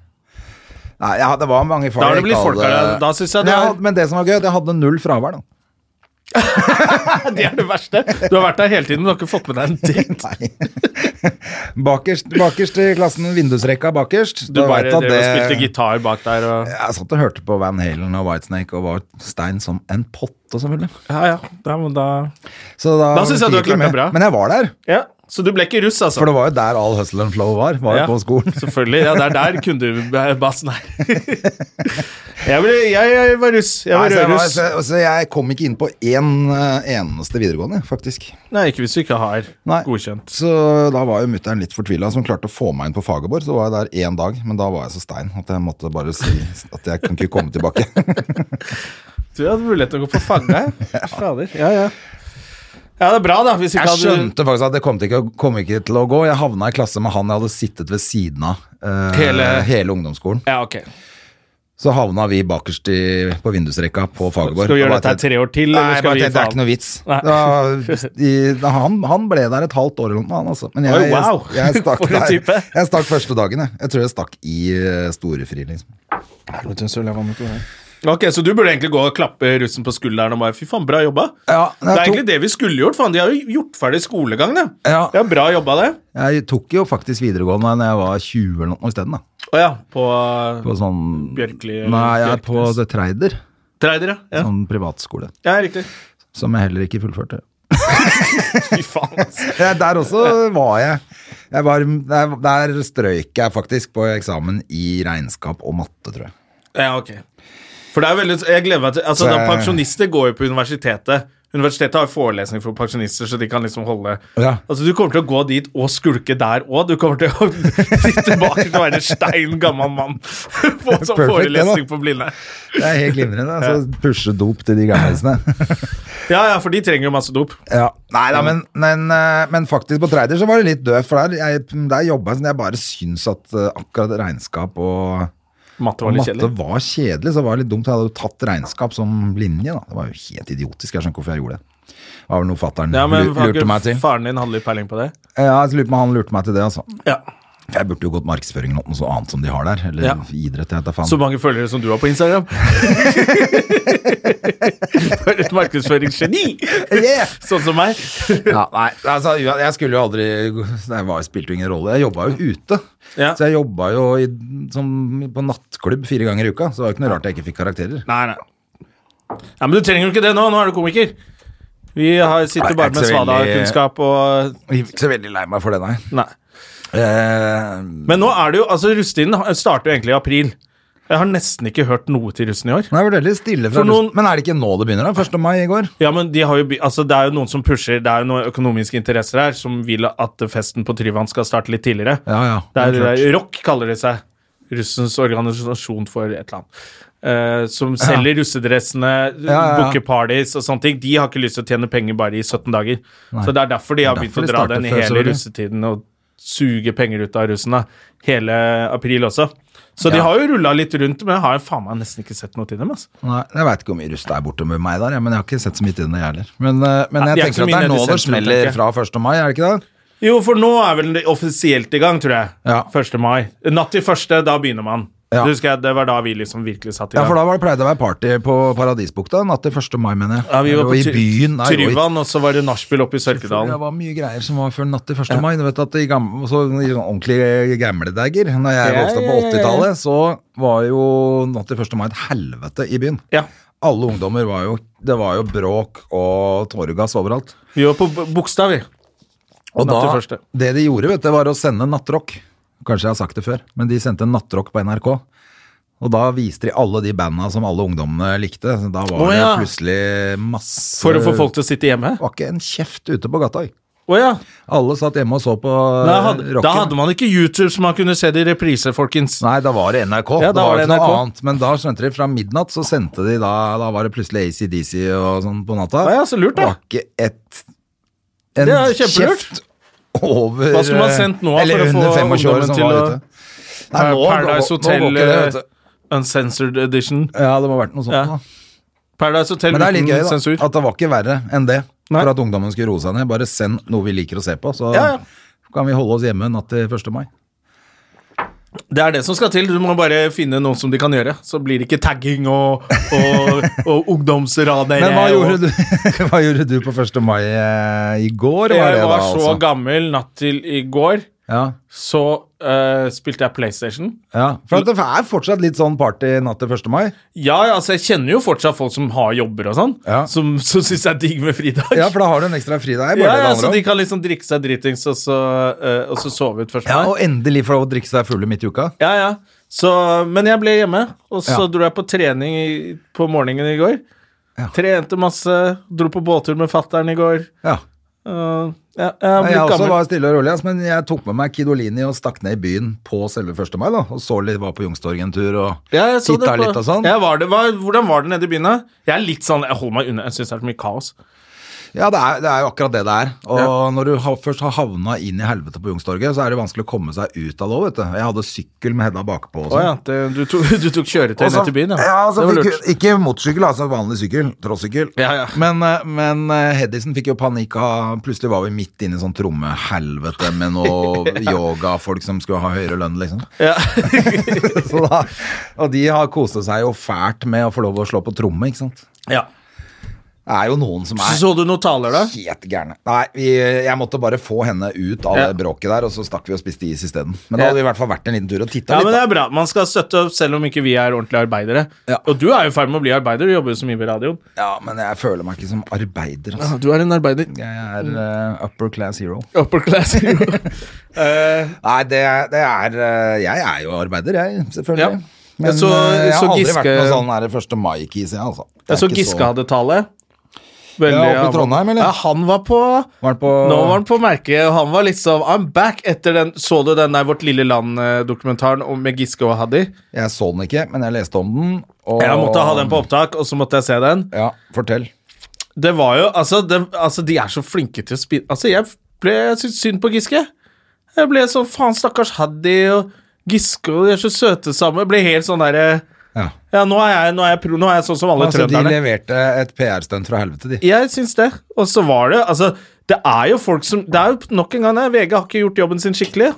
Speaker 2: Nei, ja, det var mange folk.
Speaker 1: Da har det
Speaker 2: jeg
Speaker 1: blitt
Speaker 2: ikke
Speaker 1: folk
Speaker 2: hadde-
Speaker 1: her, da synes jeg
Speaker 2: Men
Speaker 1: det er-
Speaker 2: hadde- Men det som var gøy, det hadde null fravær, da.
Speaker 1: Det er det verste. Du har vært der hele tiden, men du har ikke fått med deg en dritt.
Speaker 2: Nei. bakerst, bakerst i klassen, vindusrekka bakerst.
Speaker 1: Du
Speaker 2: Da
Speaker 1: bare
Speaker 2: vet at
Speaker 1: drev og spilte gitar bak der og
Speaker 2: Jeg satt og hørte på Van Halen og Whitesnake og var stein som en potte, selvfølgelig.
Speaker 1: Ja, ja. Da, men da...
Speaker 2: Så da,
Speaker 1: Da synes jeg du har
Speaker 2: fikk
Speaker 1: klart deg
Speaker 2: med.
Speaker 1: bra.
Speaker 2: Men jeg var der,
Speaker 1: ja. Så du ble ikke russ, altså?
Speaker 2: for det var jo der all hustle and flow var. Var jo
Speaker 1: Ja,
Speaker 2: på skolen.
Speaker 1: Selvfølgelig. Ja, det er der kundebasen er. jeg, ble, jeg, jeg var russ. Jeg
Speaker 2: Nei,
Speaker 1: var
Speaker 2: så, jeg var,
Speaker 1: rødruss.
Speaker 2: så, så jeg kom ikke inn på én eh, eneste videregående, faktisk.
Speaker 1: Nei, ikke hvis du ikke har
Speaker 2: Nei.
Speaker 1: godkjent.
Speaker 2: Så da var jo mutter'n litt fortvila, som klarte å få meg inn på faget vårt. Så var jeg der én dag, men da var jeg så stein at jeg måtte bare si at jeg kan ikke komme tilbake.
Speaker 1: Du hadde mulighet til å gå på fanga. ja. Fader. Ja, ja. Ja, det er bra, da. Hvis ikke
Speaker 2: Jeg
Speaker 1: hadde
Speaker 2: skjønte faktisk at det kom til ikke, å- kom ikke til å gå. Jeg havna i klasse med han jeg hadde sittet ved siden av eh,
Speaker 1: Hele-
Speaker 2: hele ungdomsskolen.
Speaker 1: Ja, ok.
Speaker 2: Så havna vi bakerst i, på vindusrekka på Fagerborg.
Speaker 1: Skal vi gjøre
Speaker 2: Og bare
Speaker 1: dette her
Speaker 2: tenkte-
Speaker 1: tre år til,
Speaker 2: Nei,
Speaker 1: eller skal
Speaker 2: bare
Speaker 1: vi
Speaker 2: tenkte, det er ikke
Speaker 1: faen?
Speaker 2: noe vits.
Speaker 1: Nei.
Speaker 2: Da, de, da, han, han ble der et halvt år eller noe, han altså. Men jeg,
Speaker 1: Oi, wow.
Speaker 2: jeg, jeg, stakk
Speaker 1: For en
Speaker 2: der,
Speaker 1: type.
Speaker 2: jeg stakk første dagen, jeg. Jeg tror jeg stakk i eh, storefri, liksom.
Speaker 1: Ok, Så du burde egentlig gå og klappe russen på skulderen og bare Fy faen, bra jobba.
Speaker 2: Ja, jeg
Speaker 1: det er
Speaker 2: tok-
Speaker 1: egentlig det vi skulle gjort. Faen, de har jo gjort ferdig skolegang, det.
Speaker 2: Ja.
Speaker 1: Det er bra jobba, det.
Speaker 2: Jeg tok jo faktisk videregående da jeg var 20 eller noe isteden, da.
Speaker 1: Å ja, på, eh,
Speaker 2: På sånn
Speaker 1: Bjørkli eller
Speaker 2: Nei, jeg er på
Speaker 1: Bjørknes.
Speaker 2: The Treider.
Speaker 1: Treider, ja.
Speaker 2: Sånn privatskole.
Speaker 1: Ja, riktig.
Speaker 2: Som jeg heller ikke fullførte.
Speaker 1: Fy faen, altså.
Speaker 2: Ja, Der også var jeg. jeg var, der, der strøyk jeg faktisk på eksamen i regnskap og matte, tror jeg.
Speaker 1: Ja, ok. For det er veldig Jeg gleder meg til Altså,
Speaker 2: Så
Speaker 1: da
Speaker 2: jeg-
Speaker 1: Pensjonister går jo på universitetet Universitetet har jo forelesning for pensjonister, så de kan liksom holde
Speaker 2: Ja.
Speaker 1: Altså, Du kommer til å gå dit og skulke der òg. Du kommer til å sitte tilbake til å være en stein gammel mann på sånn
Speaker 2: Perfect,
Speaker 1: forelesning
Speaker 2: det da.
Speaker 1: på Blindern.
Speaker 2: Det er helt glimrende. Altså, pushe dop til de gamlisene.
Speaker 1: Ja, ja, for de trenger jo masse dop.
Speaker 2: Ja. Nei da, men, men, eh, men faktisk på Treider så var det litt døvt, for der, jeg, der jobba jeg sånn jeg bare syns at eh, akkurat regnskap og
Speaker 1: Matte var litt
Speaker 2: matte
Speaker 1: kjedelig.
Speaker 2: var kjedelig, så var det litt dumt. Jeg hadde jo tatt regnskap som linje, da. Det var jo helt idiotisk. Jeg skjønner ikke hvorfor jeg gjorde det. Det var vel noe fatter'n
Speaker 1: Ja, men har
Speaker 2: lurte meg
Speaker 1: ikke
Speaker 2: til.
Speaker 1: faren din hadde litt peiling på det?
Speaker 2: Ja, jeg lurer på om han lurte meg til det, altså.
Speaker 1: Ja.
Speaker 2: For Jeg burde jo gått markedsføring eller noe så annet som de har der, eller
Speaker 1: Ja.
Speaker 2: idrett, jeg vet da faen.
Speaker 1: Så mange følgere som du har på Instagram? For et markedsføringsgeni!
Speaker 2: Eh, Yeah!
Speaker 1: Sånn som meg.
Speaker 2: Ja, nei, altså, jeg jeg skulle jo aldri Det var, spilte jo ingen rolle. Jeg jobba jo ute.
Speaker 1: Ja.
Speaker 2: Så jeg jobba jo i, som, på nattklubb fire ganger i uka, så det var jo ikke noe rart jeg ikke fikk karakterer.
Speaker 1: Nei, nei. Ja, men du trenger jo ikke det nå. Nå er du komiker. Vi har, sitter
Speaker 2: Nei, jeg er
Speaker 1: bare med
Speaker 2: ikke så veldig-
Speaker 1: svada-kunnskap og
Speaker 2: Jeg er ikke så veldig lei meg for det, nei.
Speaker 1: Nei.
Speaker 2: Eh,
Speaker 1: Men nå er det jo Altså, russetiden har- starter jo egentlig i april. Jeg har nesten ikke hørt noe til russen i år.
Speaker 2: det har vært veldig stille fra
Speaker 1: For noen-
Speaker 2: Men er det ikke nå det begynner, da? 1. mai i går?
Speaker 1: Ja, men de har jo, by- altså, Det er jo noen som pusher, det er jo noen økonomiske interesser her som vil at festen på Tryvann skal starte litt tidligere.
Speaker 2: Ja, ja.
Speaker 1: Det er, eh,
Speaker 2: klart.
Speaker 1: Rock kaller de seg. Russens organisasjon for et eller annet. Eh, som selger russedressene,
Speaker 2: ja, ja.
Speaker 1: booker parties og sånne ting. De har ikke lyst til å tjene penger bare i 17 dager. Så det er derfor de har
Speaker 2: Det er
Speaker 1: begynt
Speaker 2: derfor
Speaker 1: å
Speaker 2: de
Speaker 1: dra
Speaker 2: starter
Speaker 1: den i
Speaker 2: før,
Speaker 1: hele
Speaker 2: selvfølgelig.
Speaker 1: russetiden og suge penger ut av russene hele april også. Så de har jo rulla litt rundt, men jeg har jo faen meg nesten ikke sett noe til dem. Altså.
Speaker 2: Nei, jeg veit ikke hvor mye russ det er borte med meg der, ja, men jeg har ikke sett så mye til det, jeg heller. Men, eh, men
Speaker 1: Nei,
Speaker 2: jeg
Speaker 1: de er ikke
Speaker 2: tenker
Speaker 1: så
Speaker 2: at det
Speaker 1: mye
Speaker 2: er
Speaker 1: nede i
Speaker 2: nå det
Speaker 1: sentrum,
Speaker 2: smeller
Speaker 1: tenker jeg.
Speaker 2: fra 1. mai, er det ikke det?
Speaker 1: Jo, for nå er vel det offisielt i gang, tror jeg.
Speaker 2: Ja.
Speaker 1: 1. mai. Natt til første, da begynner man.
Speaker 2: Ja.
Speaker 1: Det husker jeg, Det var da vi liksom virkelig satt i
Speaker 2: Ja,
Speaker 1: gang.
Speaker 2: for da var det pleide å være party på Paradisbukta natt til 1. mai, mener jeg.
Speaker 1: Ja, vi var på
Speaker 2: og i
Speaker 1: Try-
Speaker 2: byen. Nei, og i
Speaker 1: Tryvann, og så var det nachspiel oppe i
Speaker 2: Det
Speaker 1: Sørkedalen.
Speaker 2: var mye greier som var før natt til 1. mai. Du vet at i gamle, så, i sånne ordentlige gamle dager, når jeg
Speaker 1: Ja,
Speaker 2: vokste opp
Speaker 1: ja,
Speaker 2: på
Speaker 1: ja, ja.
Speaker 2: 80-tallet, så var jo natt til 1. mai et helvete i byen.
Speaker 1: Ja.
Speaker 2: Alle ungdommer var jo Det var jo bråk og tåregass overalt.
Speaker 1: Vi var på B- Bogstad, vi.
Speaker 2: Og
Speaker 1: Natt til
Speaker 2: da,
Speaker 1: første.
Speaker 2: det de gjorde, vet du, var å sende nattrock. Kanskje jeg har sagt det før, men de sendte nattrock på NRK. Og da viste de alle de banda som alle ungdommene likte. Så Da var
Speaker 1: Å, ja.
Speaker 2: det plutselig masse
Speaker 1: For å få folk til å sitte hjemme.
Speaker 2: Det var ikke en kjeft ute på gata. oi.
Speaker 1: Å ja.
Speaker 2: Alle satt hjemme og så på eh,
Speaker 1: Da hadde,
Speaker 2: rocken.
Speaker 1: da hadde man ikke YouTube som man kunne se det i reprise, folkens.
Speaker 2: Nei, da var det NRK.
Speaker 1: Ja, da
Speaker 2: det var,
Speaker 1: var det
Speaker 2: ikke noe
Speaker 1: NRK.
Speaker 2: annet. Men da skjønte de fra midnatt, så sendte de da Da var det plutselig ACDC og sånn på natta.
Speaker 1: Ja, ja, så lurt,
Speaker 2: det
Speaker 1: da.
Speaker 2: var ikke et en
Speaker 1: Det er jo kjempelurt.
Speaker 2: kjeft over
Speaker 1: Hva skulle man sendt nå
Speaker 2: Eller
Speaker 1: for å få
Speaker 2: under 25 år
Speaker 1: ungdommen
Speaker 2: som
Speaker 1: til
Speaker 2: var
Speaker 1: å- Eh,
Speaker 2: ute. Nei, nå, nå- nå
Speaker 1: Paradise
Speaker 2: går
Speaker 1: Hotel, eh,
Speaker 2: ikke det, vet du.
Speaker 1: Uncensored edition.
Speaker 2: Ja, det må ha vært noe sånt.
Speaker 1: Ja.
Speaker 2: da.
Speaker 1: Paradise Hotel
Speaker 2: Men det er litt
Speaker 1: uten
Speaker 2: gøy, da.
Speaker 1: sensur.
Speaker 2: At det var ikke verre enn det.
Speaker 1: Nei.
Speaker 2: For at ungdommen skulle roe seg ned. Bare send noe vi liker å se på, så
Speaker 1: Ja, ja.
Speaker 2: kan vi holde oss hjemme natt til 1. mai.
Speaker 1: Det er det som skal til. Du må bare finne noe som de kan gjøre. Så blir det ikke tagging og, og, og ungdomsranere.
Speaker 2: Men hva
Speaker 1: og-
Speaker 2: gjorde, du, hva gjorde du på 1. mai eh, i går? Var det
Speaker 1: Jeg
Speaker 2: da,
Speaker 1: var så
Speaker 2: altså?
Speaker 1: gammel natt til i går,
Speaker 2: Ja,
Speaker 1: så eh, spilte jeg PlayStation.
Speaker 2: ja. For at det er fortsatt litt sånn party natt til 1. mai.
Speaker 1: Ja, ja, altså jeg kjenner jo fortsatt folk som har jobber og sånn,
Speaker 2: Ja.
Speaker 1: som, som syns det er digg med fridag.
Speaker 2: Ja, for da har du en ekstra fridag.
Speaker 1: Ja, ja, så
Speaker 2: ja,
Speaker 1: de kan liksom drikke seg dritings og så, eh, og så sove ut først.
Speaker 2: ja, og endelig få lov å drikke seg fulle midt i uka.
Speaker 1: ja, ja. Så, men jeg ble hjemme, og så
Speaker 2: Ja.
Speaker 1: dro jeg på trening i, på morgenen i går.
Speaker 2: Ja.
Speaker 1: Trente masse, dro på båttur med fattern i går.
Speaker 2: Ja.
Speaker 1: Uh, ja, jeg har
Speaker 2: Nei,
Speaker 1: blitt
Speaker 2: Jeg også
Speaker 1: gammel.
Speaker 2: var stille og rolig, ass, men jeg tok med meg Kidolini og stakk ned i byen på selve 1. mai. da, Og så litt, var på Youngstorget en tur og
Speaker 1: Ja, jeg så det
Speaker 2: titta
Speaker 1: på-
Speaker 2: litt og sånn.
Speaker 1: Ja, var det, var, hvordan var det nede i byen? da? Jeg er litt sånn, jeg holder meg unna, jeg syns det er så mye kaos.
Speaker 2: Ja, det er, det er jo akkurat det det er. Og når du ha, først har havna inn i helvete på Youngstorget, så er det vanskelig å komme seg ut av det òg, vet du. Jeg hadde sykkel med Hedda bakpå og
Speaker 1: Å
Speaker 2: sånn.
Speaker 1: ja, det, du, tok, du tok kjøretøy
Speaker 2: Og så-
Speaker 1: ned til byen, ja.
Speaker 2: ja altså,
Speaker 1: det var
Speaker 2: fikk,
Speaker 1: lurt.
Speaker 2: ikke motorsykkel, altså vanlig sykkel. Trossykkel.
Speaker 1: Ja, ja.
Speaker 2: Men, eh, men eh, Hedison fikk jo panikk av Plutselig var vi midt inne i sånn trommehelvete med noen yogafolk som skulle ha høyere lønn, liksom.
Speaker 1: Ja.
Speaker 2: Så da, og de har kosa seg jo fælt med å få lov å slå på tromme, ikke sant.
Speaker 1: ja.
Speaker 2: Det er jo noen som er
Speaker 1: Så du noen taler, da?
Speaker 2: Helt gærne. Nei, vi, jeg måtte bare få henne ut av
Speaker 1: Ja.
Speaker 2: det bråket der, og så stakk vi og spiste is isteden. Men
Speaker 1: Ja.
Speaker 2: da hadde vi i hvert fall vært en liten tur og titta
Speaker 1: Ja, men
Speaker 2: litt.
Speaker 1: det
Speaker 2: da.
Speaker 1: er bra. Man skal støtte opp selv om ikke vi er ordentlige arbeidere.
Speaker 2: Ja.
Speaker 1: Og du er jo i ferd med å bli arbeider, du jobber jo så mye med radioen.
Speaker 2: Ja, men jeg føler meg ikke som arbeider, altså.
Speaker 1: Du er en arbeider.
Speaker 2: Jeg er eh, upper class hero.
Speaker 1: Upper class. Eh,
Speaker 2: Nei, det, det er eh, Jeg er jo arbeider, jeg, selvfølgelig.
Speaker 1: Ja.
Speaker 2: Men
Speaker 1: Jeg så-
Speaker 2: eh, jeg
Speaker 1: så
Speaker 2: har aldri
Speaker 1: Giske-
Speaker 2: vært noe sånn her 1. mai-kis, jeg, altså. Det er
Speaker 1: jeg så
Speaker 2: ikke
Speaker 1: Giske hadde tale.
Speaker 3: Veldig,
Speaker 2: Ja, oppe i Trondheim, eller?
Speaker 1: Ja, han var på
Speaker 2: Var han på
Speaker 1: Nå var han på merket, og han var liksom I'm back etter den Så du den der Vårt lille land-dokumentaren om- med Giske og Haddy?
Speaker 2: Jeg så den ikke, men jeg leste om den. Og...
Speaker 1: Jeg måtte ha den på opptak, og så måtte jeg se den.
Speaker 2: Ja, fortell.
Speaker 1: Det var jo Altså, det, altså de er så flinke til å spille Altså, jeg ble jeg syntes synd på Giske. Jeg ble sånn Faen, stakkars Haddy og Giske, og de er så søte sammen. Jeg ble helt sånn derre
Speaker 2: Ja.
Speaker 1: Ja, nå er jeg, nå er jeg, pro, nå er jeg sånn som alle
Speaker 2: Altså, de
Speaker 1: trønderne.
Speaker 2: leverte et PR-stunt fra helvete, de.
Speaker 1: Jeg syns det. Og så var det Altså, det er jo folk som Det er jo nok en gang det. VG har ikke gjort jobben sin skikkelig.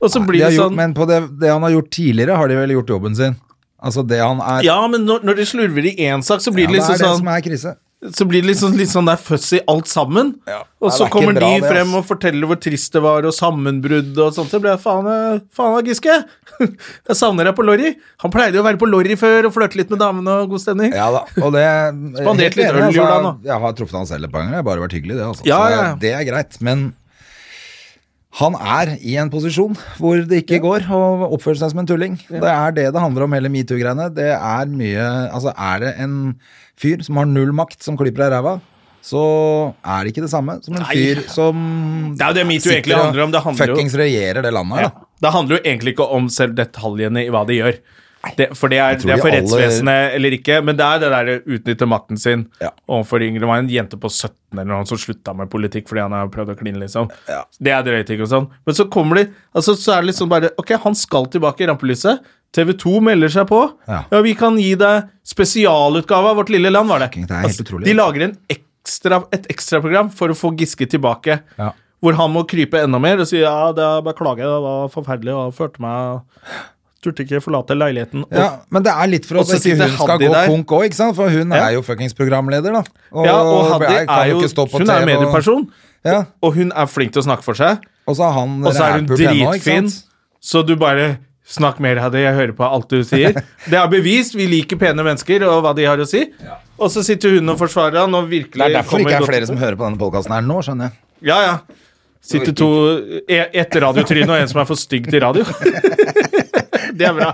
Speaker 1: Og så
Speaker 2: de
Speaker 1: blir
Speaker 2: har
Speaker 1: det
Speaker 2: gjort,
Speaker 1: sånn
Speaker 2: men på det, det han har gjort tidligere, har de vel gjort jobben sin? Altså det han er
Speaker 1: Ja, men når, når de slurver i én sak, så blir
Speaker 2: Ja,
Speaker 1: det
Speaker 2: det er
Speaker 1: liksom
Speaker 2: det
Speaker 1: sånn
Speaker 2: som er krise.
Speaker 1: Så blir det liksom, litt sånn der fuzzy alt sammen.
Speaker 2: Ja,
Speaker 1: og
Speaker 2: det
Speaker 1: så
Speaker 2: er ikke
Speaker 1: kommer
Speaker 2: bra,
Speaker 1: de
Speaker 2: det, ass.
Speaker 1: frem og forteller hvor trist det var, og sammenbrudd og sånt. Det ble jeg faen, eh, faen av Giske. Jeg savner deg på Lorry. Han pleide jo å være på Lorry før og flørte litt med damene og god stemning.
Speaker 2: Ja da, og det
Speaker 1: Spandert litt
Speaker 2: Helt
Speaker 1: øl,
Speaker 2: altså,
Speaker 1: gjorde han,
Speaker 2: Jeg har truffet han selv et par ganger, det har bare vært hyggelig, det. Altså.
Speaker 1: Ja,
Speaker 2: Så
Speaker 1: ja, ja.
Speaker 2: det er greit, men han er i en posisjon hvor det ikke går å oppføre seg som en tulling. Det er det det handler om, hele metoo-greiene. Det er mye Altså, er det en fyr som har null makt, som klipper deg i ræva, så er det ikke det samme som en
Speaker 1: Nei.
Speaker 2: fyr som
Speaker 1: Det er jo det metoo
Speaker 2: sitter
Speaker 1: egentlig
Speaker 2: og
Speaker 1: handler om. Det handler jo
Speaker 2: Fuckings regjerer det landet her,
Speaker 1: Ja.
Speaker 2: da.
Speaker 1: Det handler jo egentlig ikke om selv detaljene i hva de gjør. Det, for det er,
Speaker 2: tror
Speaker 1: det er
Speaker 2: de
Speaker 1: for
Speaker 2: alle-
Speaker 1: rettsvesenet eller ikke, men det er det der å utnytte makten sin
Speaker 2: Ja.
Speaker 1: overfor de yngre. Det var en jente på 17 eller noe som slutta med politikk fordi han har prøvd å kline, liksom. Det er drøyt, ikke sant? Men så kommer de altså Så er det liksom bare Ok, han skal tilbake i rampelyset. TV 2 melder seg på.
Speaker 2: Ja.
Speaker 1: vi kan gi deg spesialutgave av Vårt lille land, var det. Altså,
Speaker 2: Fucking, det er helt utrolig.
Speaker 1: de lager en ekstra, et ekstraprogram for å få Giske tilbake.
Speaker 2: Ja.
Speaker 1: Hvor han må krype enda mer og si ja, det er, beklager, det var forferdelig og førte meg Turte ikke forlate leiligheten. Og,
Speaker 2: Ja, men det er litt for
Speaker 1: Og
Speaker 2: at
Speaker 1: så
Speaker 2: ikke
Speaker 1: sitter
Speaker 2: hun skal
Speaker 1: Haddy
Speaker 2: gå
Speaker 1: der.
Speaker 2: konk òg, ikke sant? For hun
Speaker 1: Ja.
Speaker 2: er jo fuckings programleder, da. Og,
Speaker 1: ja, og Haddy
Speaker 2: jeg kan
Speaker 1: er jo
Speaker 2: ikke stå på
Speaker 1: Hun
Speaker 2: TV
Speaker 1: er
Speaker 2: og-
Speaker 1: medieperson,
Speaker 2: Ja,
Speaker 1: og hun er flink til å snakke for seg.
Speaker 2: og så er han
Speaker 1: Og så er hun
Speaker 2: rævpull ennå, ikke
Speaker 1: dritfin,
Speaker 2: sant?
Speaker 1: så du bare Snakk mer, Haddy. Jeg hører på alt du sier. Det er bevist. Vi liker pene mennesker og hva de har å si. Og så sitter hun og forsvarer han og virkelig
Speaker 2: Det er derfor
Speaker 1: kommer
Speaker 2: ikke er
Speaker 1: godt-
Speaker 2: flere som hører på denne podkasten her nå, skjønner jeg.
Speaker 1: Ja, ja. Sitter to e- Ett radiotryne og en som er for stygg til radio. Det er bra.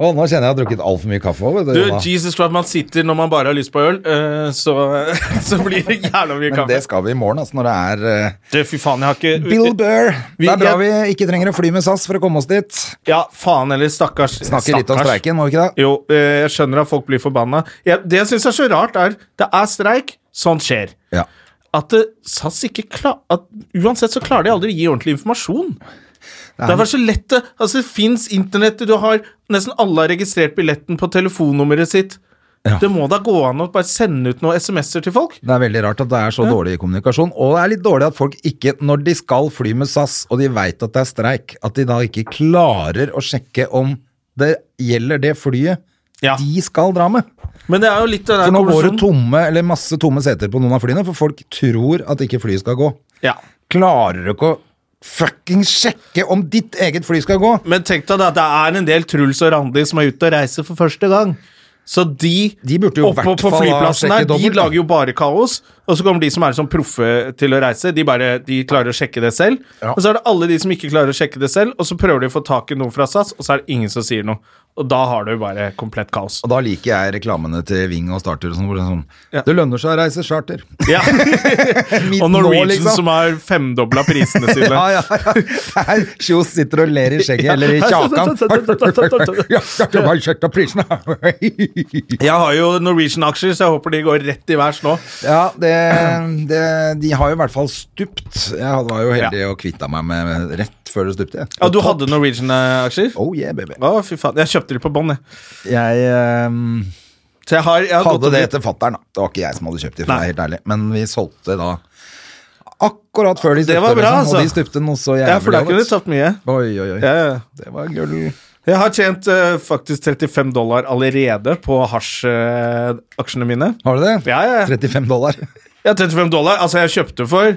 Speaker 2: Å, nå kjenner jeg at jeg har drukket altfor mye kaffe òg, vet du.
Speaker 1: Du,
Speaker 2: Jonna.
Speaker 1: Jesus Christ, man sitter når man bare har lyst på øl, eh, så, så blir det jævla mye
Speaker 2: Men
Speaker 1: kaffe.
Speaker 2: det skal vi i morgen, altså, når det er eh,
Speaker 1: Du, fy faen, jeg har ikke
Speaker 2: Bill Burr!
Speaker 1: Vi-
Speaker 2: Det er bra vi ikke trenger å fly med SAS for å komme oss dit.
Speaker 1: Ja, faen eller stakkars.
Speaker 2: Snakker litt om
Speaker 1: stakkars.
Speaker 2: streiken, må vi ikke det?
Speaker 1: Jo, eh, jeg skjønner at folk blir forbanna. Jeg, det jeg syns er så rart, er det er streik, sånt skjer.
Speaker 2: Ja.
Speaker 1: At eh, SAS ikke klar, at Uansett så klarer de aldri å gi ordentlig informasjon. Det er bare så lett det Altså, det fins internett, du har Nesten alle har registrert billetten på telefonnummeret sitt.
Speaker 2: Ja.
Speaker 1: Det må da gå an å bare sende ut noen SMS-er til folk?
Speaker 2: Det er veldig rart at det er så dårlig kommunikasjon, og det er litt dårlig at folk ikke, når de skal fly med SAS, og de vet at det er streik, at de da ikke klarer å sjekke om det gjelder det flyet
Speaker 1: Ja.
Speaker 2: de skal dra med.
Speaker 1: Men det er jo litt den
Speaker 2: For
Speaker 1: der
Speaker 2: nå går det
Speaker 1: konklusjonen-
Speaker 2: tomme, eller masse tomme seter på noen av flyene, for folk tror at ikke flyet skal gå.
Speaker 1: Ja.
Speaker 2: Klarer du ikke å fucking sjekke om ditt eget fly skal gå?
Speaker 1: Men tenk deg da, det er en del Truls og Randi som er ute og reiser for første gang. Så de,
Speaker 2: De burde jo i
Speaker 1: oppe
Speaker 2: hvert
Speaker 1: på
Speaker 2: fall ha
Speaker 1: flyplassen
Speaker 2: sjekket
Speaker 1: der, de
Speaker 2: dobbelt, da.
Speaker 1: lager jo bare kaos. Og så kommer de som er sånn proffe til å reise, de, bare, de klarer å sjekke det selv.
Speaker 2: Ja.
Speaker 1: Og så er det alle de som ikke klarer å sjekke det selv, og så prøver de å få tak i noe fra SAS, og så er det ingen som sier noe. Og da har du bare komplett kaos.
Speaker 2: Og da liker jeg reklamene til Ving og Starter og sånn, hvor det er sånn,
Speaker 1: Ja.
Speaker 2: det lønner seg å reise charter.
Speaker 1: Ja.
Speaker 2: Midt nå,
Speaker 1: og Norwegian
Speaker 2: liksom.
Speaker 1: som har femdobla prisene sine.
Speaker 2: Ja, ja, ja. Her, Kjos sitter og ler i skjegget, eller i kjakan. Ja, jeg har sjekket prisene.
Speaker 1: Jeg har jo Norwegian-aksjer, så jeg håper de går rett i værs nå.
Speaker 2: Ja, det, det, de har jo i hvert fall stupt. Jeg var jo heldig og kvitta meg med rett før det stupte. jeg.
Speaker 1: Ja, du hadde Norwegian-aksjer?
Speaker 2: Oh yeah, baby.
Speaker 1: Å, fy faen. Jeg kjøpte de på bånn, jeg.
Speaker 2: Jeg ehm,
Speaker 1: Så jeg har, jeg har gått
Speaker 2: hadde
Speaker 1: og
Speaker 2: det
Speaker 1: blitt-
Speaker 2: etter fatter'n, da. Det var ikke jeg som hadde kjøpt de, for å
Speaker 1: Nei.
Speaker 2: være helt ærlig. Men vi solgte da akkurat før de stupte,
Speaker 1: Det var bra,
Speaker 2: liksom,
Speaker 1: altså.
Speaker 2: og de stupte noe så
Speaker 1: Ja, for da kunne
Speaker 2: jævlig.
Speaker 1: du tapt mye.
Speaker 2: Oi, oi, oi.
Speaker 1: Ja, ja.
Speaker 2: Det var gull.
Speaker 1: Jeg har tjent eh, faktisk 35 dollar allerede på hasj-aksjene mine.
Speaker 2: Har du det?
Speaker 1: Ja, ja, ja.
Speaker 2: 35 dollar.
Speaker 1: ja, 35 dollar. Altså, jeg kjøpte for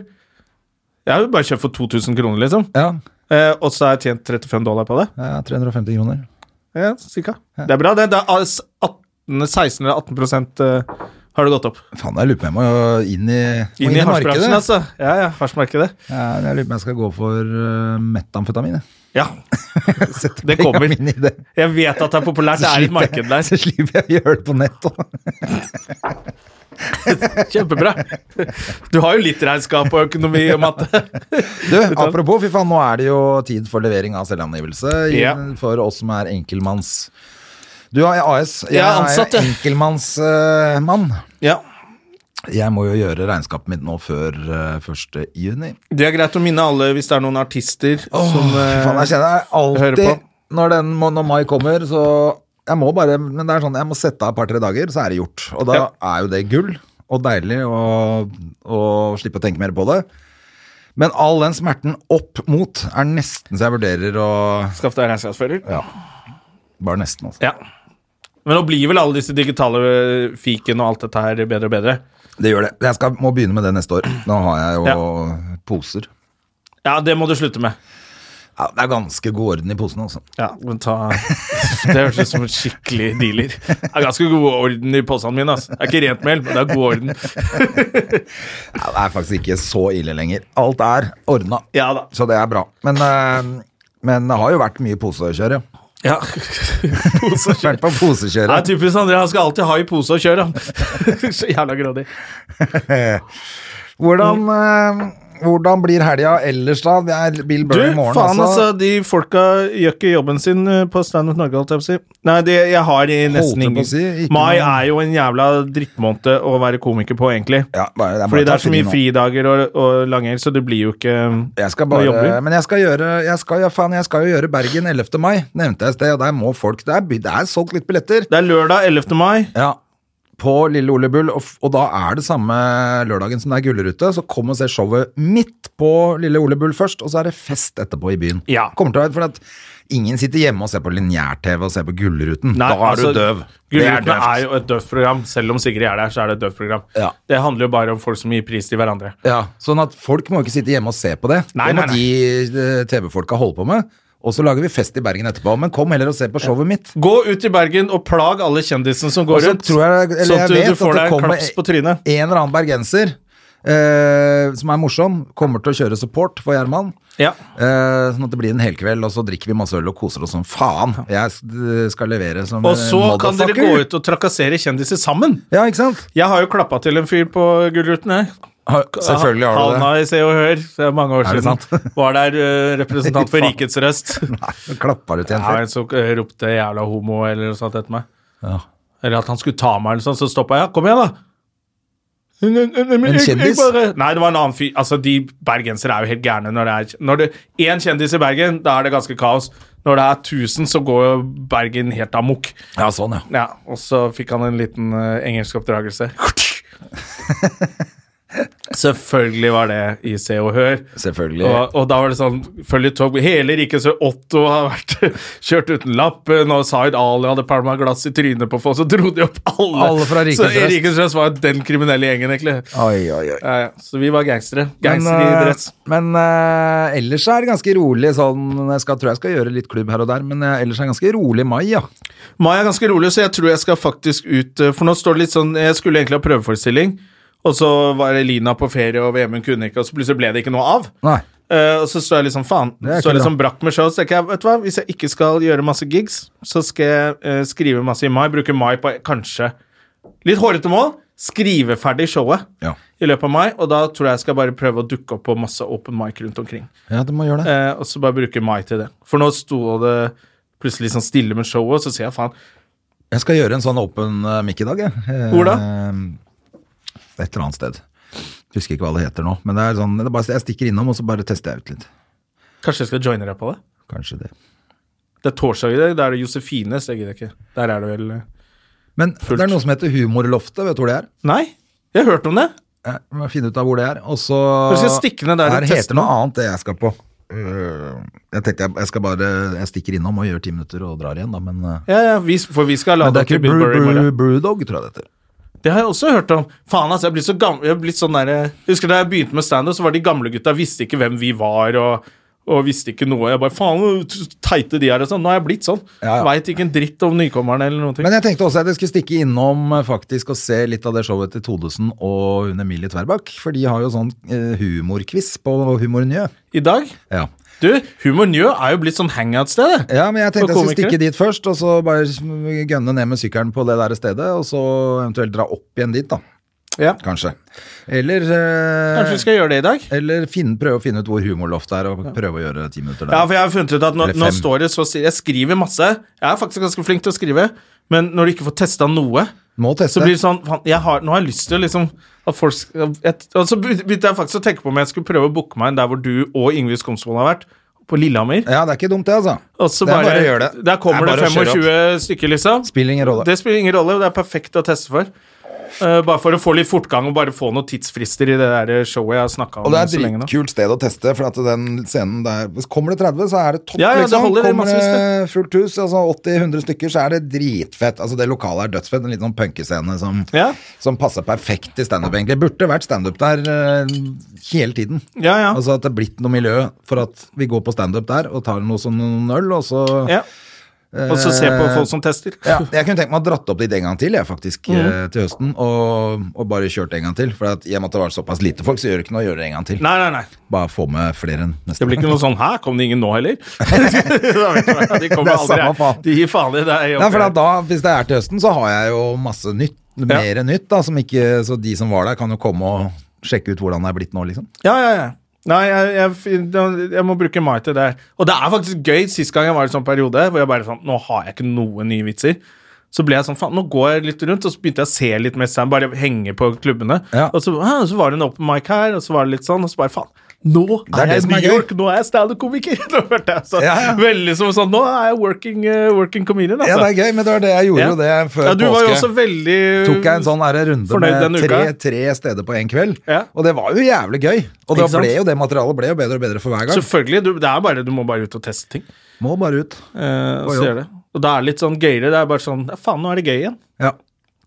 Speaker 1: Jeg har jo bare kjøpt for 2000 kroner, liksom.
Speaker 2: Ja,
Speaker 1: Eh, og så har jeg tjent 35 dollar på det.
Speaker 2: ja 350 kroner.
Speaker 1: Ja, cirka. Det er bra, det. det er as- 18, 16 eller 18 prosent eh, har det gått opp.
Speaker 2: Faen, jeg lurer på om jeg må inn i, må
Speaker 1: Inn i
Speaker 2: markedet.
Speaker 1: hasjbransjen, altså. Ja, ja, hasjmarkedet.
Speaker 2: Ja, jeg lurer på om jeg skal gå for eh, metamfetamin. jeg.
Speaker 1: Ja,
Speaker 2: Setter
Speaker 1: Det kommer.
Speaker 2: pengene mine i det.
Speaker 1: jeg vet at det er populært. Det er et marked der.
Speaker 2: så slipper jeg å gjøre det på nett òg.
Speaker 1: Kjempebra. Du har jo litt regnskap og økonomi og matte.
Speaker 2: Du, apropos, fy faen, nå er det jo tid for levering av selvangivelse i-
Speaker 1: Ja.
Speaker 2: for oss som er enkeltmanns... Du er AS, jeg
Speaker 1: Jeg er ansatt,
Speaker 2: er
Speaker 1: jeg.
Speaker 2: enkeltmannsmann.
Speaker 1: Ja,
Speaker 2: jeg må jo gjøre regnskapet mitt nå før eh, 1. juni.
Speaker 1: Det er greit å minne alle hvis det er noen artister som
Speaker 2: Fy
Speaker 1: eh,
Speaker 2: faen, jeg kjenner jeg
Speaker 1: hører på.
Speaker 2: alltid når, den, må- når mai kommer, så jeg må bare Men det er sånn, jeg må sette av et par-tre dager, så er det gjort. Og da
Speaker 1: Ja.
Speaker 2: er jo det gull, og deilig å, å slippe å tenke mer på det. Men all den smerten opp mot er nesten så jeg vurderer å
Speaker 1: Skaff deg regnskapsfører.
Speaker 2: Ja. Bare nesten, altså.
Speaker 1: Ja. Men nå blir vel alle disse digitale fiken og alt dette her bedre og bedre.
Speaker 2: Det gjør det. Jeg skal, må begynne med det neste år. Nå har jeg jo poser.
Speaker 1: Ja, det må du slutte med.
Speaker 2: Ja, det er ganske god orden i posene, altså.
Speaker 1: Ja, men ta Det høres ut som en skikkelig dealer. Det er ganske god orden i posene mine. Altså. Det er ikke rent mel, men det er god orden.
Speaker 2: Ja, det er faktisk ikke så ille lenger. Alt er ordna.
Speaker 1: Ja da.
Speaker 2: Så det er bra. Men, eh, men det har jo vært mye posekjør, ja.
Speaker 1: Ja. Pose og kjør.
Speaker 2: Vært på
Speaker 1: Det er
Speaker 2: posekjøret.
Speaker 1: typisk André. Han skal alltid ha i pose og kjøre. Så jævla grådig.
Speaker 2: Hvordan, eh, hvordan blir helga ellers, da? Det er Bill
Speaker 1: Du,
Speaker 2: Burr i morgen,
Speaker 1: faen altså.
Speaker 2: altså.
Speaker 1: De folka gjør ikke jobben sin eh, på Stand Up Norge, holdt jeg på å si. Nei, det, jeg har i nesten
Speaker 2: jeg på
Speaker 1: ingen
Speaker 2: å si, ikke
Speaker 1: Mai
Speaker 2: noe-
Speaker 1: er jo en jævla drittmåned å være komiker på, egentlig.
Speaker 2: Ja, bare, det er bare
Speaker 1: Fordi
Speaker 2: å
Speaker 1: det
Speaker 2: ta
Speaker 1: er så mye
Speaker 2: nå.
Speaker 1: fridager og, og langhelg, så det blir jo ikke
Speaker 2: Jeg skal
Speaker 1: Nå jobber
Speaker 2: bare,
Speaker 1: vi.
Speaker 2: men jeg skal gjøre jeg skal, ja, faen, jeg skal jo gjøre Bergen 11. mai, nevnte jeg i sted. Og der må folk Det er, by- det er solgt litt billetter.
Speaker 1: Det er lørdag 11. mai.
Speaker 2: Ja. På Lille Ole Bull, og, f- og da er det samme lørdagen som det er Gullrute. Så kom og se showet midt på Lille Ole Bull først, og så er det fest etterpå i byen.
Speaker 1: Ja.
Speaker 2: Kommer til å være, for at Ingen sitter hjemme og ser på lineær-TV og ser på Gullruten.
Speaker 1: Nei,
Speaker 2: da er
Speaker 1: altså,
Speaker 2: du døv. Det er
Speaker 1: Gullruten er,
Speaker 2: døvt.
Speaker 1: jo et døvt program. Selv om Sigrid er der, så er det et døvt program.
Speaker 2: Ja.
Speaker 1: Det handler jo bare om folk som gir pris til hverandre.
Speaker 2: Ja, sånn at folk må ikke sitte hjemme og se på det.
Speaker 1: Nei,
Speaker 2: det må
Speaker 1: nei, nei.
Speaker 2: de eh, TV-folka holde på med. Og så lager vi fest i Bergen etterpå. Men kom heller og se på showet mitt.
Speaker 1: Gå ut i Bergen og plag alle kjendisene som
Speaker 2: Og
Speaker 1: går
Speaker 2: så
Speaker 1: rundt.
Speaker 2: tror jeg, eller
Speaker 1: sånn
Speaker 2: jeg
Speaker 1: at du,
Speaker 2: vet
Speaker 1: du får
Speaker 2: at det
Speaker 1: deg en
Speaker 2: kommer
Speaker 1: klaps på trynet.
Speaker 2: en eller annen bergenser eh, som er morsom, kommer til å kjøre support for Gjerman.
Speaker 1: Ja.
Speaker 2: Eh, sånn at det blir en helkveld, og så drikker vi masse øl og koser oss som faen. Jeg s- skal levere som
Speaker 1: Og så
Speaker 2: en
Speaker 1: kan dere
Speaker 2: motherfucker.
Speaker 1: gå ut og trakassere kjendiser sammen.
Speaker 2: Ja, ikke sant?
Speaker 1: Jeg har jo klappa til en fyr på Gullruten, jeg.
Speaker 2: Har- Selvfølgelig har du
Speaker 1: Havna
Speaker 2: det.
Speaker 1: i Se og Hør, det er mange år
Speaker 2: Er det
Speaker 1: siden.
Speaker 2: sant?
Speaker 1: Var der eh, representant for Rikets Røst.
Speaker 2: Nå Klappa du til en
Speaker 1: Ja,
Speaker 2: fyr?
Speaker 1: en som eh, ropte 'jævla homo' eller noe sånt etter meg.
Speaker 2: Ja.
Speaker 1: Eller at han skulle ta meg, eller sånn, så stoppa jeg. Kom igjen, da! En
Speaker 2: kjendis?
Speaker 1: Nei, det var en annen fyr. Altså, de bergensere er jo helt gærne når det er Når det én kjendis i Bergen, da er det ganske kaos. Når det er 1000, så går jo Bergen helt amok.
Speaker 2: ja, sånn, ja.
Speaker 1: Ja, og så fikk han en liten uh, engelsk oppdragelse. Selvfølgelig var det i Se og Hør.
Speaker 2: Selvfølgelig.
Speaker 1: Og, og da var det sånn føljetong. Hele rikets Otto har vært kjørt uten lappen, og Zaid Ali hadde pælma glass i trynet på folk, så dro de opp alle.
Speaker 2: Alle fra Rikets
Speaker 1: så
Speaker 2: Røst.
Speaker 1: Rikets Røst var den kriminelle gjengen, egentlig.
Speaker 2: Oi, oi, oi.
Speaker 1: Ja, ja. Så vi var gangstere.
Speaker 2: Men,
Speaker 1: Gangstere i
Speaker 2: eh,
Speaker 1: dress.
Speaker 2: Men eh, ellers er det ganske rolig sånn Jeg skal, tror jeg skal gjøre litt klubb her og der, men eh, ellers er det ganske rolig mai, ja.
Speaker 1: Mai er ganske rolig, så jeg tror jeg skal faktisk ut eh, For nå står det litt sånn Jeg skulle egentlig ha prøveforestilling, og så var Elina på ferie, og Vemund kunne ikke, og så plutselig ble det ikke noe av.
Speaker 2: Nei.
Speaker 1: Eh, og så står jeg liksom faen.
Speaker 2: Det er
Speaker 1: Står
Speaker 2: ikke
Speaker 1: jeg liksom brakk med show. Så tenker jeg, vet du hva, hvis jeg ikke skal gjøre masse gigs, så skal jeg eh, skrive masse i mai. Bruke mai på kanskje litt hårete mål. Skrive ferdig showet
Speaker 2: Ja.
Speaker 1: i løpet av mai, og da tror jeg jeg skal bare prøve å dukke opp på masse open mic rundt omkring.
Speaker 2: Ja, du må gjøre det.
Speaker 1: Eh, og så bare bruke mai til det. For nå sto det plutselig sånn stille med showet, og så sier jeg faen
Speaker 2: Jeg skal gjøre en sånn åpen eh, mic i dag, jeg. Eh,
Speaker 1: Hvor da?
Speaker 2: Et eller annet sted. Husker ikke hva det heter nå, men det er sånn, det er bare, jeg stikker innom og så bare tester jeg ut litt.
Speaker 1: Kanskje jeg skal joine deg på det?
Speaker 2: Kanskje det.
Speaker 1: Det er torsdag i dag, da er det Josefine, så jeg gidder ikke. Der er det vel eh,
Speaker 2: Men det er noe som heter Humorloftet, vet du hvor det er?
Speaker 1: Nei, jeg har hørt om det.
Speaker 2: Jeg må finne ut av hvor det er, og så
Speaker 1: Du skal stikke ned der og
Speaker 2: Her
Speaker 1: teste
Speaker 2: heter noe annet det jeg skal på. Eh, Jeg tenkte jeg, jeg skal bare Jeg stikker innom og gjør ti minutter og drar igjen, da, men eh,
Speaker 1: Ja, ja, vi, for vi skal
Speaker 2: Men
Speaker 1: lade
Speaker 2: det er
Speaker 1: opp
Speaker 2: ikke
Speaker 1: til Bill
Speaker 2: Brew-
Speaker 1: Burry i morgen.
Speaker 2: Brew- Brewdog, tror jeg det heter.
Speaker 1: Det har jeg også hørt om. Faen, altså, jeg har blitt eh, så gammel. Jeg har blitt sånn der, jeg husker da jeg begynte med standup, så var de gamle gutta visste ikke hvem vi var, og, og visste ikke noe. Jeg bare faen, hvor teite de er og sånn. Nå er jeg blitt sånn.
Speaker 2: Ja, ja.
Speaker 1: Veit ikke en dritt om nykommerne eller noen ting.
Speaker 2: Men jeg tenkte også at jeg skulle stikke innom eh, faktisk og se litt av det showet til Todesen og hun Emilie Tverbakk, for de har jo sånn eh, humorquiz på Humor Njø.
Speaker 1: I dag
Speaker 2: Ja.
Speaker 1: Du, Humor Njø er jo blitt sånn hangout-sted. det.
Speaker 2: ja, men jeg tenkte
Speaker 1: For
Speaker 2: jeg skulle
Speaker 1: komikere.
Speaker 2: stikke dit først, og så bare gønne ned med sykkelen på det der stedet, og så eventuelt dra opp igjen dit, da.
Speaker 1: Ja.
Speaker 2: Kanskje. Eller, eh,
Speaker 1: Kanskje vi skal gjøre det i dag?
Speaker 2: eller finne, prøve å finne ut hvor humorloftet er, og prøve å gjøre ti minutter der.
Speaker 1: Ja, for jeg har funnet ut at nå,
Speaker 2: Eller
Speaker 1: nå
Speaker 2: fem.
Speaker 1: står det så stille. Jeg skriver masse. Jeg er faktisk ganske flink til å skrive, men når du ikke får testa noe,
Speaker 2: Må teste.
Speaker 1: så blir det sånn faen, jeg har, Nå har jeg lyst til å liksom at folk skal et, Og så begynte jeg faktisk å tenke på om jeg skulle prøve å booke meg en der hvor du og Yngve Skomsvold har vært, på Lillehammer.
Speaker 2: Ja, det er ikke dumt det, altså.
Speaker 1: Og så
Speaker 2: Det er
Speaker 1: bare,
Speaker 2: bare å gjøre det.
Speaker 1: Der kommer
Speaker 2: Det
Speaker 1: det,
Speaker 2: er bare å kjøre
Speaker 1: 25 stykker, liksom.
Speaker 2: Spiller ingen rolle.
Speaker 1: Det spiller ingen rolle, og det er perfekt å teste for. Eh, bare for å få litt fortgang og bare få noen tidsfrister i det der showet jeg har snakka om
Speaker 2: Og det er et
Speaker 1: så lenge nå.
Speaker 2: dritkult sted å teste, for at den scenen der hvis Kommer det 30, så er det topp,
Speaker 1: Ja, ja, det
Speaker 2: liksom.
Speaker 1: holder i
Speaker 2: Kommer
Speaker 1: massevis,
Speaker 2: det fullt hus, altså 80-100 stykker, så er det dritfett. Altså, det lokalet er dødsfett. En litt sånn punkescene som,
Speaker 1: Ja.
Speaker 2: som passer perfekt til standup, egentlig. Burde vært standup der eh, hele tiden.
Speaker 1: Ja, ja.
Speaker 2: Altså at det er blitt noe miljø for at vi går på standup der og tar noe som noen øl, og så
Speaker 1: Ja. Og så se på folk som tester.
Speaker 2: eh, Ja, jeg kunne tenkt meg å ha dratt opp dit en gang til, jeg, faktisk,
Speaker 1: Mhm.
Speaker 2: eh, til høsten. Og, og bare kjørt en gang til. For at, i og med at det var såpass lite folk, så gjør det ikke noe å gjøre det en gang til.
Speaker 1: Nei, nei, nei.
Speaker 2: Bare få med flere enn neste
Speaker 1: Det blir ikke noe sånn 'hæ, kom det ingen nå heller?' de kommer
Speaker 2: Det er
Speaker 1: aldri
Speaker 2: samme faen.
Speaker 1: De gir faen i deg.
Speaker 2: Nei, for da, da, hvis det er til høsten, så har jeg jo masse nytt. Mer nytt, da, som ikke Så de som var der, kan jo komme og sjekke ut hvordan det er blitt nå, liksom.
Speaker 1: Ja, ja, ja. Nei, jeg, jeg, jeg må bruke mai til det. Og det er faktisk gøy. Sist gang jeg var i en sånn periode hvor jeg bare sånn Nå har jeg ikke noen nye vitser. Så ble jeg sånn, faen, nå går jeg litt rundt, og så begynte jeg å se litt mer stand, bare henge på klubbene.
Speaker 2: Ja.
Speaker 1: Og så, «Hæ, så var det en open mic her, og så var det litt sånn, og så bare, faen, nå
Speaker 2: er
Speaker 1: er,
Speaker 2: det
Speaker 1: jeg i
Speaker 2: som er
Speaker 1: New
Speaker 2: gøy.
Speaker 1: York, nå er jeg stand-up-komiker! Nå hørte jeg sånn,
Speaker 2: Ja, ja.
Speaker 1: veldig som sånn, nå er jeg working, eh, working comedian, altså.
Speaker 2: Ja, det er gøy, men det var det jeg gjorde
Speaker 1: Ja.
Speaker 2: jo det før
Speaker 1: Ja, du var jo
Speaker 2: påske.
Speaker 1: også veldig
Speaker 2: Tok jeg en sånn her runde
Speaker 1: fornøyd
Speaker 2: med
Speaker 1: denne
Speaker 2: tre,
Speaker 1: uka.
Speaker 2: tre steder på én kveld,
Speaker 1: Ja.
Speaker 2: og det var jo jævlig gøy. Og da
Speaker 1: Ikke sant?
Speaker 2: ble jo det materialet ble jo bedre og bedre for hver gang.
Speaker 1: Selvfølgelig. Du, det er bare, du må bare ut og teste ting.
Speaker 2: Må bare ut.
Speaker 1: Eh, og
Speaker 2: På
Speaker 1: så
Speaker 2: jobb.
Speaker 1: gjør det. Og da er det litt sånn gøyere. Det er bare sånn ja, Faen, nå er det gøy igjen.
Speaker 2: Ja.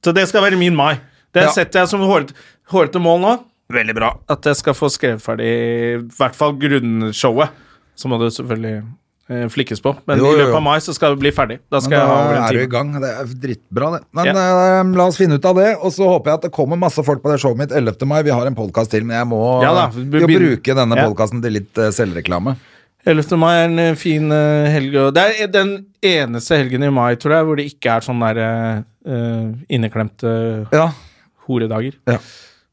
Speaker 1: Så det skal være min mai. Det
Speaker 2: Ja.
Speaker 1: setter jeg som hårete hårete mål nå. Veldig bra. At jeg skal få skrevet ferdig i hvert fall grunnshowet. Så må det selvfølgelig eh, flikkes på. Men
Speaker 2: Jo,
Speaker 1: i
Speaker 2: jo,
Speaker 1: løpet
Speaker 2: jo.
Speaker 1: av mai så skal det bli ferdig. Da skal
Speaker 2: Men
Speaker 1: jeg ha over
Speaker 2: da
Speaker 1: en
Speaker 2: er du i
Speaker 1: time.
Speaker 2: gang. Det er drittbra, det. Men eh, la oss finne ut av det. Og så håper jeg at det kommer masse folk på det showet mitt 11. mai. Vi har en podkast til, men jeg må eh,
Speaker 1: Ja da,
Speaker 2: vi
Speaker 1: vi
Speaker 2: må
Speaker 1: begynner-
Speaker 2: bruke denne
Speaker 1: Ja.
Speaker 2: podkasten til litt eh, selvreklame.
Speaker 1: 11. mai er en eh, fin eh, helg. og Det er den eneste helgen i mai, tror jeg, hvor det ikke er sånn der eh, eh, inneklemte
Speaker 2: Ja,
Speaker 1: horedager.
Speaker 2: Ja.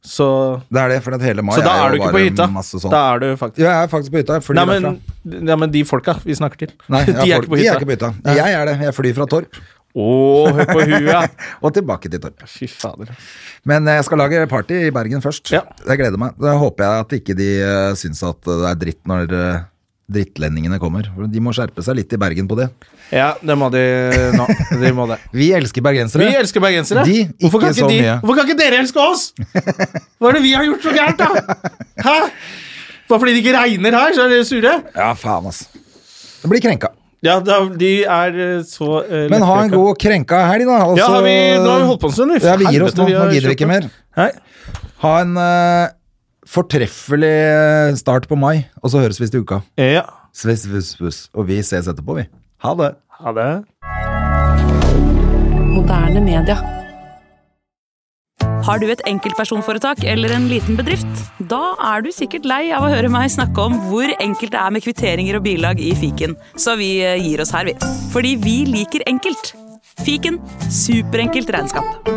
Speaker 1: Så,
Speaker 2: det er det, for at hele mai
Speaker 1: så da
Speaker 2: jo
Speaker 1: er du ikke
Speaker 2: bare
Speaker 1: på hytta.
Speaker 2: masse sånn.
Speaker 1: Da er du faktisk
Speaker 2: Jo, jeg er faktisk på hytta. Jeg flyr
Speaker 1: Nei men,
Speaker 2: derfra.
Speaker 1: nei, men de folka vi snakker til,
Speaker 2: Nei,
Speaker 1: de,
Speaker 2: jeg
Speaker 1: er
Speaker 2: får-
Speaker 1: ikke på
Speaker 2: de
Speaker 1: hytta.
Speaker 2: er ikke på hytta. Jeg er det. Jeg flyr fra Torp
Speaker 1: Å, hør på huet!
Speaker 2: og tilbake til Torp.
Speaker 1: Fy fader.
Speaker 2: Men eh, jeg skal lage party i Bergen først.
Speaker 1: Ja.
Speaker 2: Jeg gleder meg. Da håper jeg at ikke de eh, syns at det er dritt når eh, drittlendingene kommer. For De må skjerpe seg litt i Bergen på det.
Speaker 1: Ja, det må de nå. De må det.
Speaker 2: Vi elsker bergensere.
Speaker 1: Vi elsker bergensere.
Speaker 2: De,
Speaker 1: hvorfor, kan
Speaker 2: ikke så
Speaker 1: de,
Speaker 2: mye.
Speaker 1: hvorfor kan ikke dere elske oss?! Hva er det vi har gjort så gærent, da?! Hæ? Bare fordi det ikke regner her, så er dere sure?
Speaker 2: Ja, faen, ass. Det blir krenka.
Speaker 1: Ja, da, de er eh, så eh,
Speaker 2: Men ha en
Speaker 1: lettrykka.
Speaker 2: god krenka helg, da. og
Speaker 1: Ja,
Speaker 2: så-
Speaker 1: har vi, nå har vi holdt på en stund.
Speaker 2: Ja, vi gir oss
Speaker 1: Helvete,
Speaker 2: nå. Nå
Speaker 1: har
Speaker 2: gidder vi
Speaker 1: kjørt
Speaker 2: ikke
Speaker 1: på.
Speaker 2: mer.
Speaker 1: Nei.
Speaker 2: Ha en eh, fortreffelig eh, start på mai, og så høres vi til uka.
Speaker 1: Ja.
Speaker 2: Sviss, sviss, sviss. Og vi ses etterpå, vi. Ha det.
Speaker 1: Ha det.
Speaker 4: Moderne media.
Speaker 5: Har du et enkeltpersonforetak eller en liten bedrift? Da er du sikkert lei av å høre meg snakke om hvor enkelt det er med kvitteringer og bilag i fiken, så vi eh, gir oss her, vi. Fordi vi liker enkelt. Fiken superenkelt regnskap.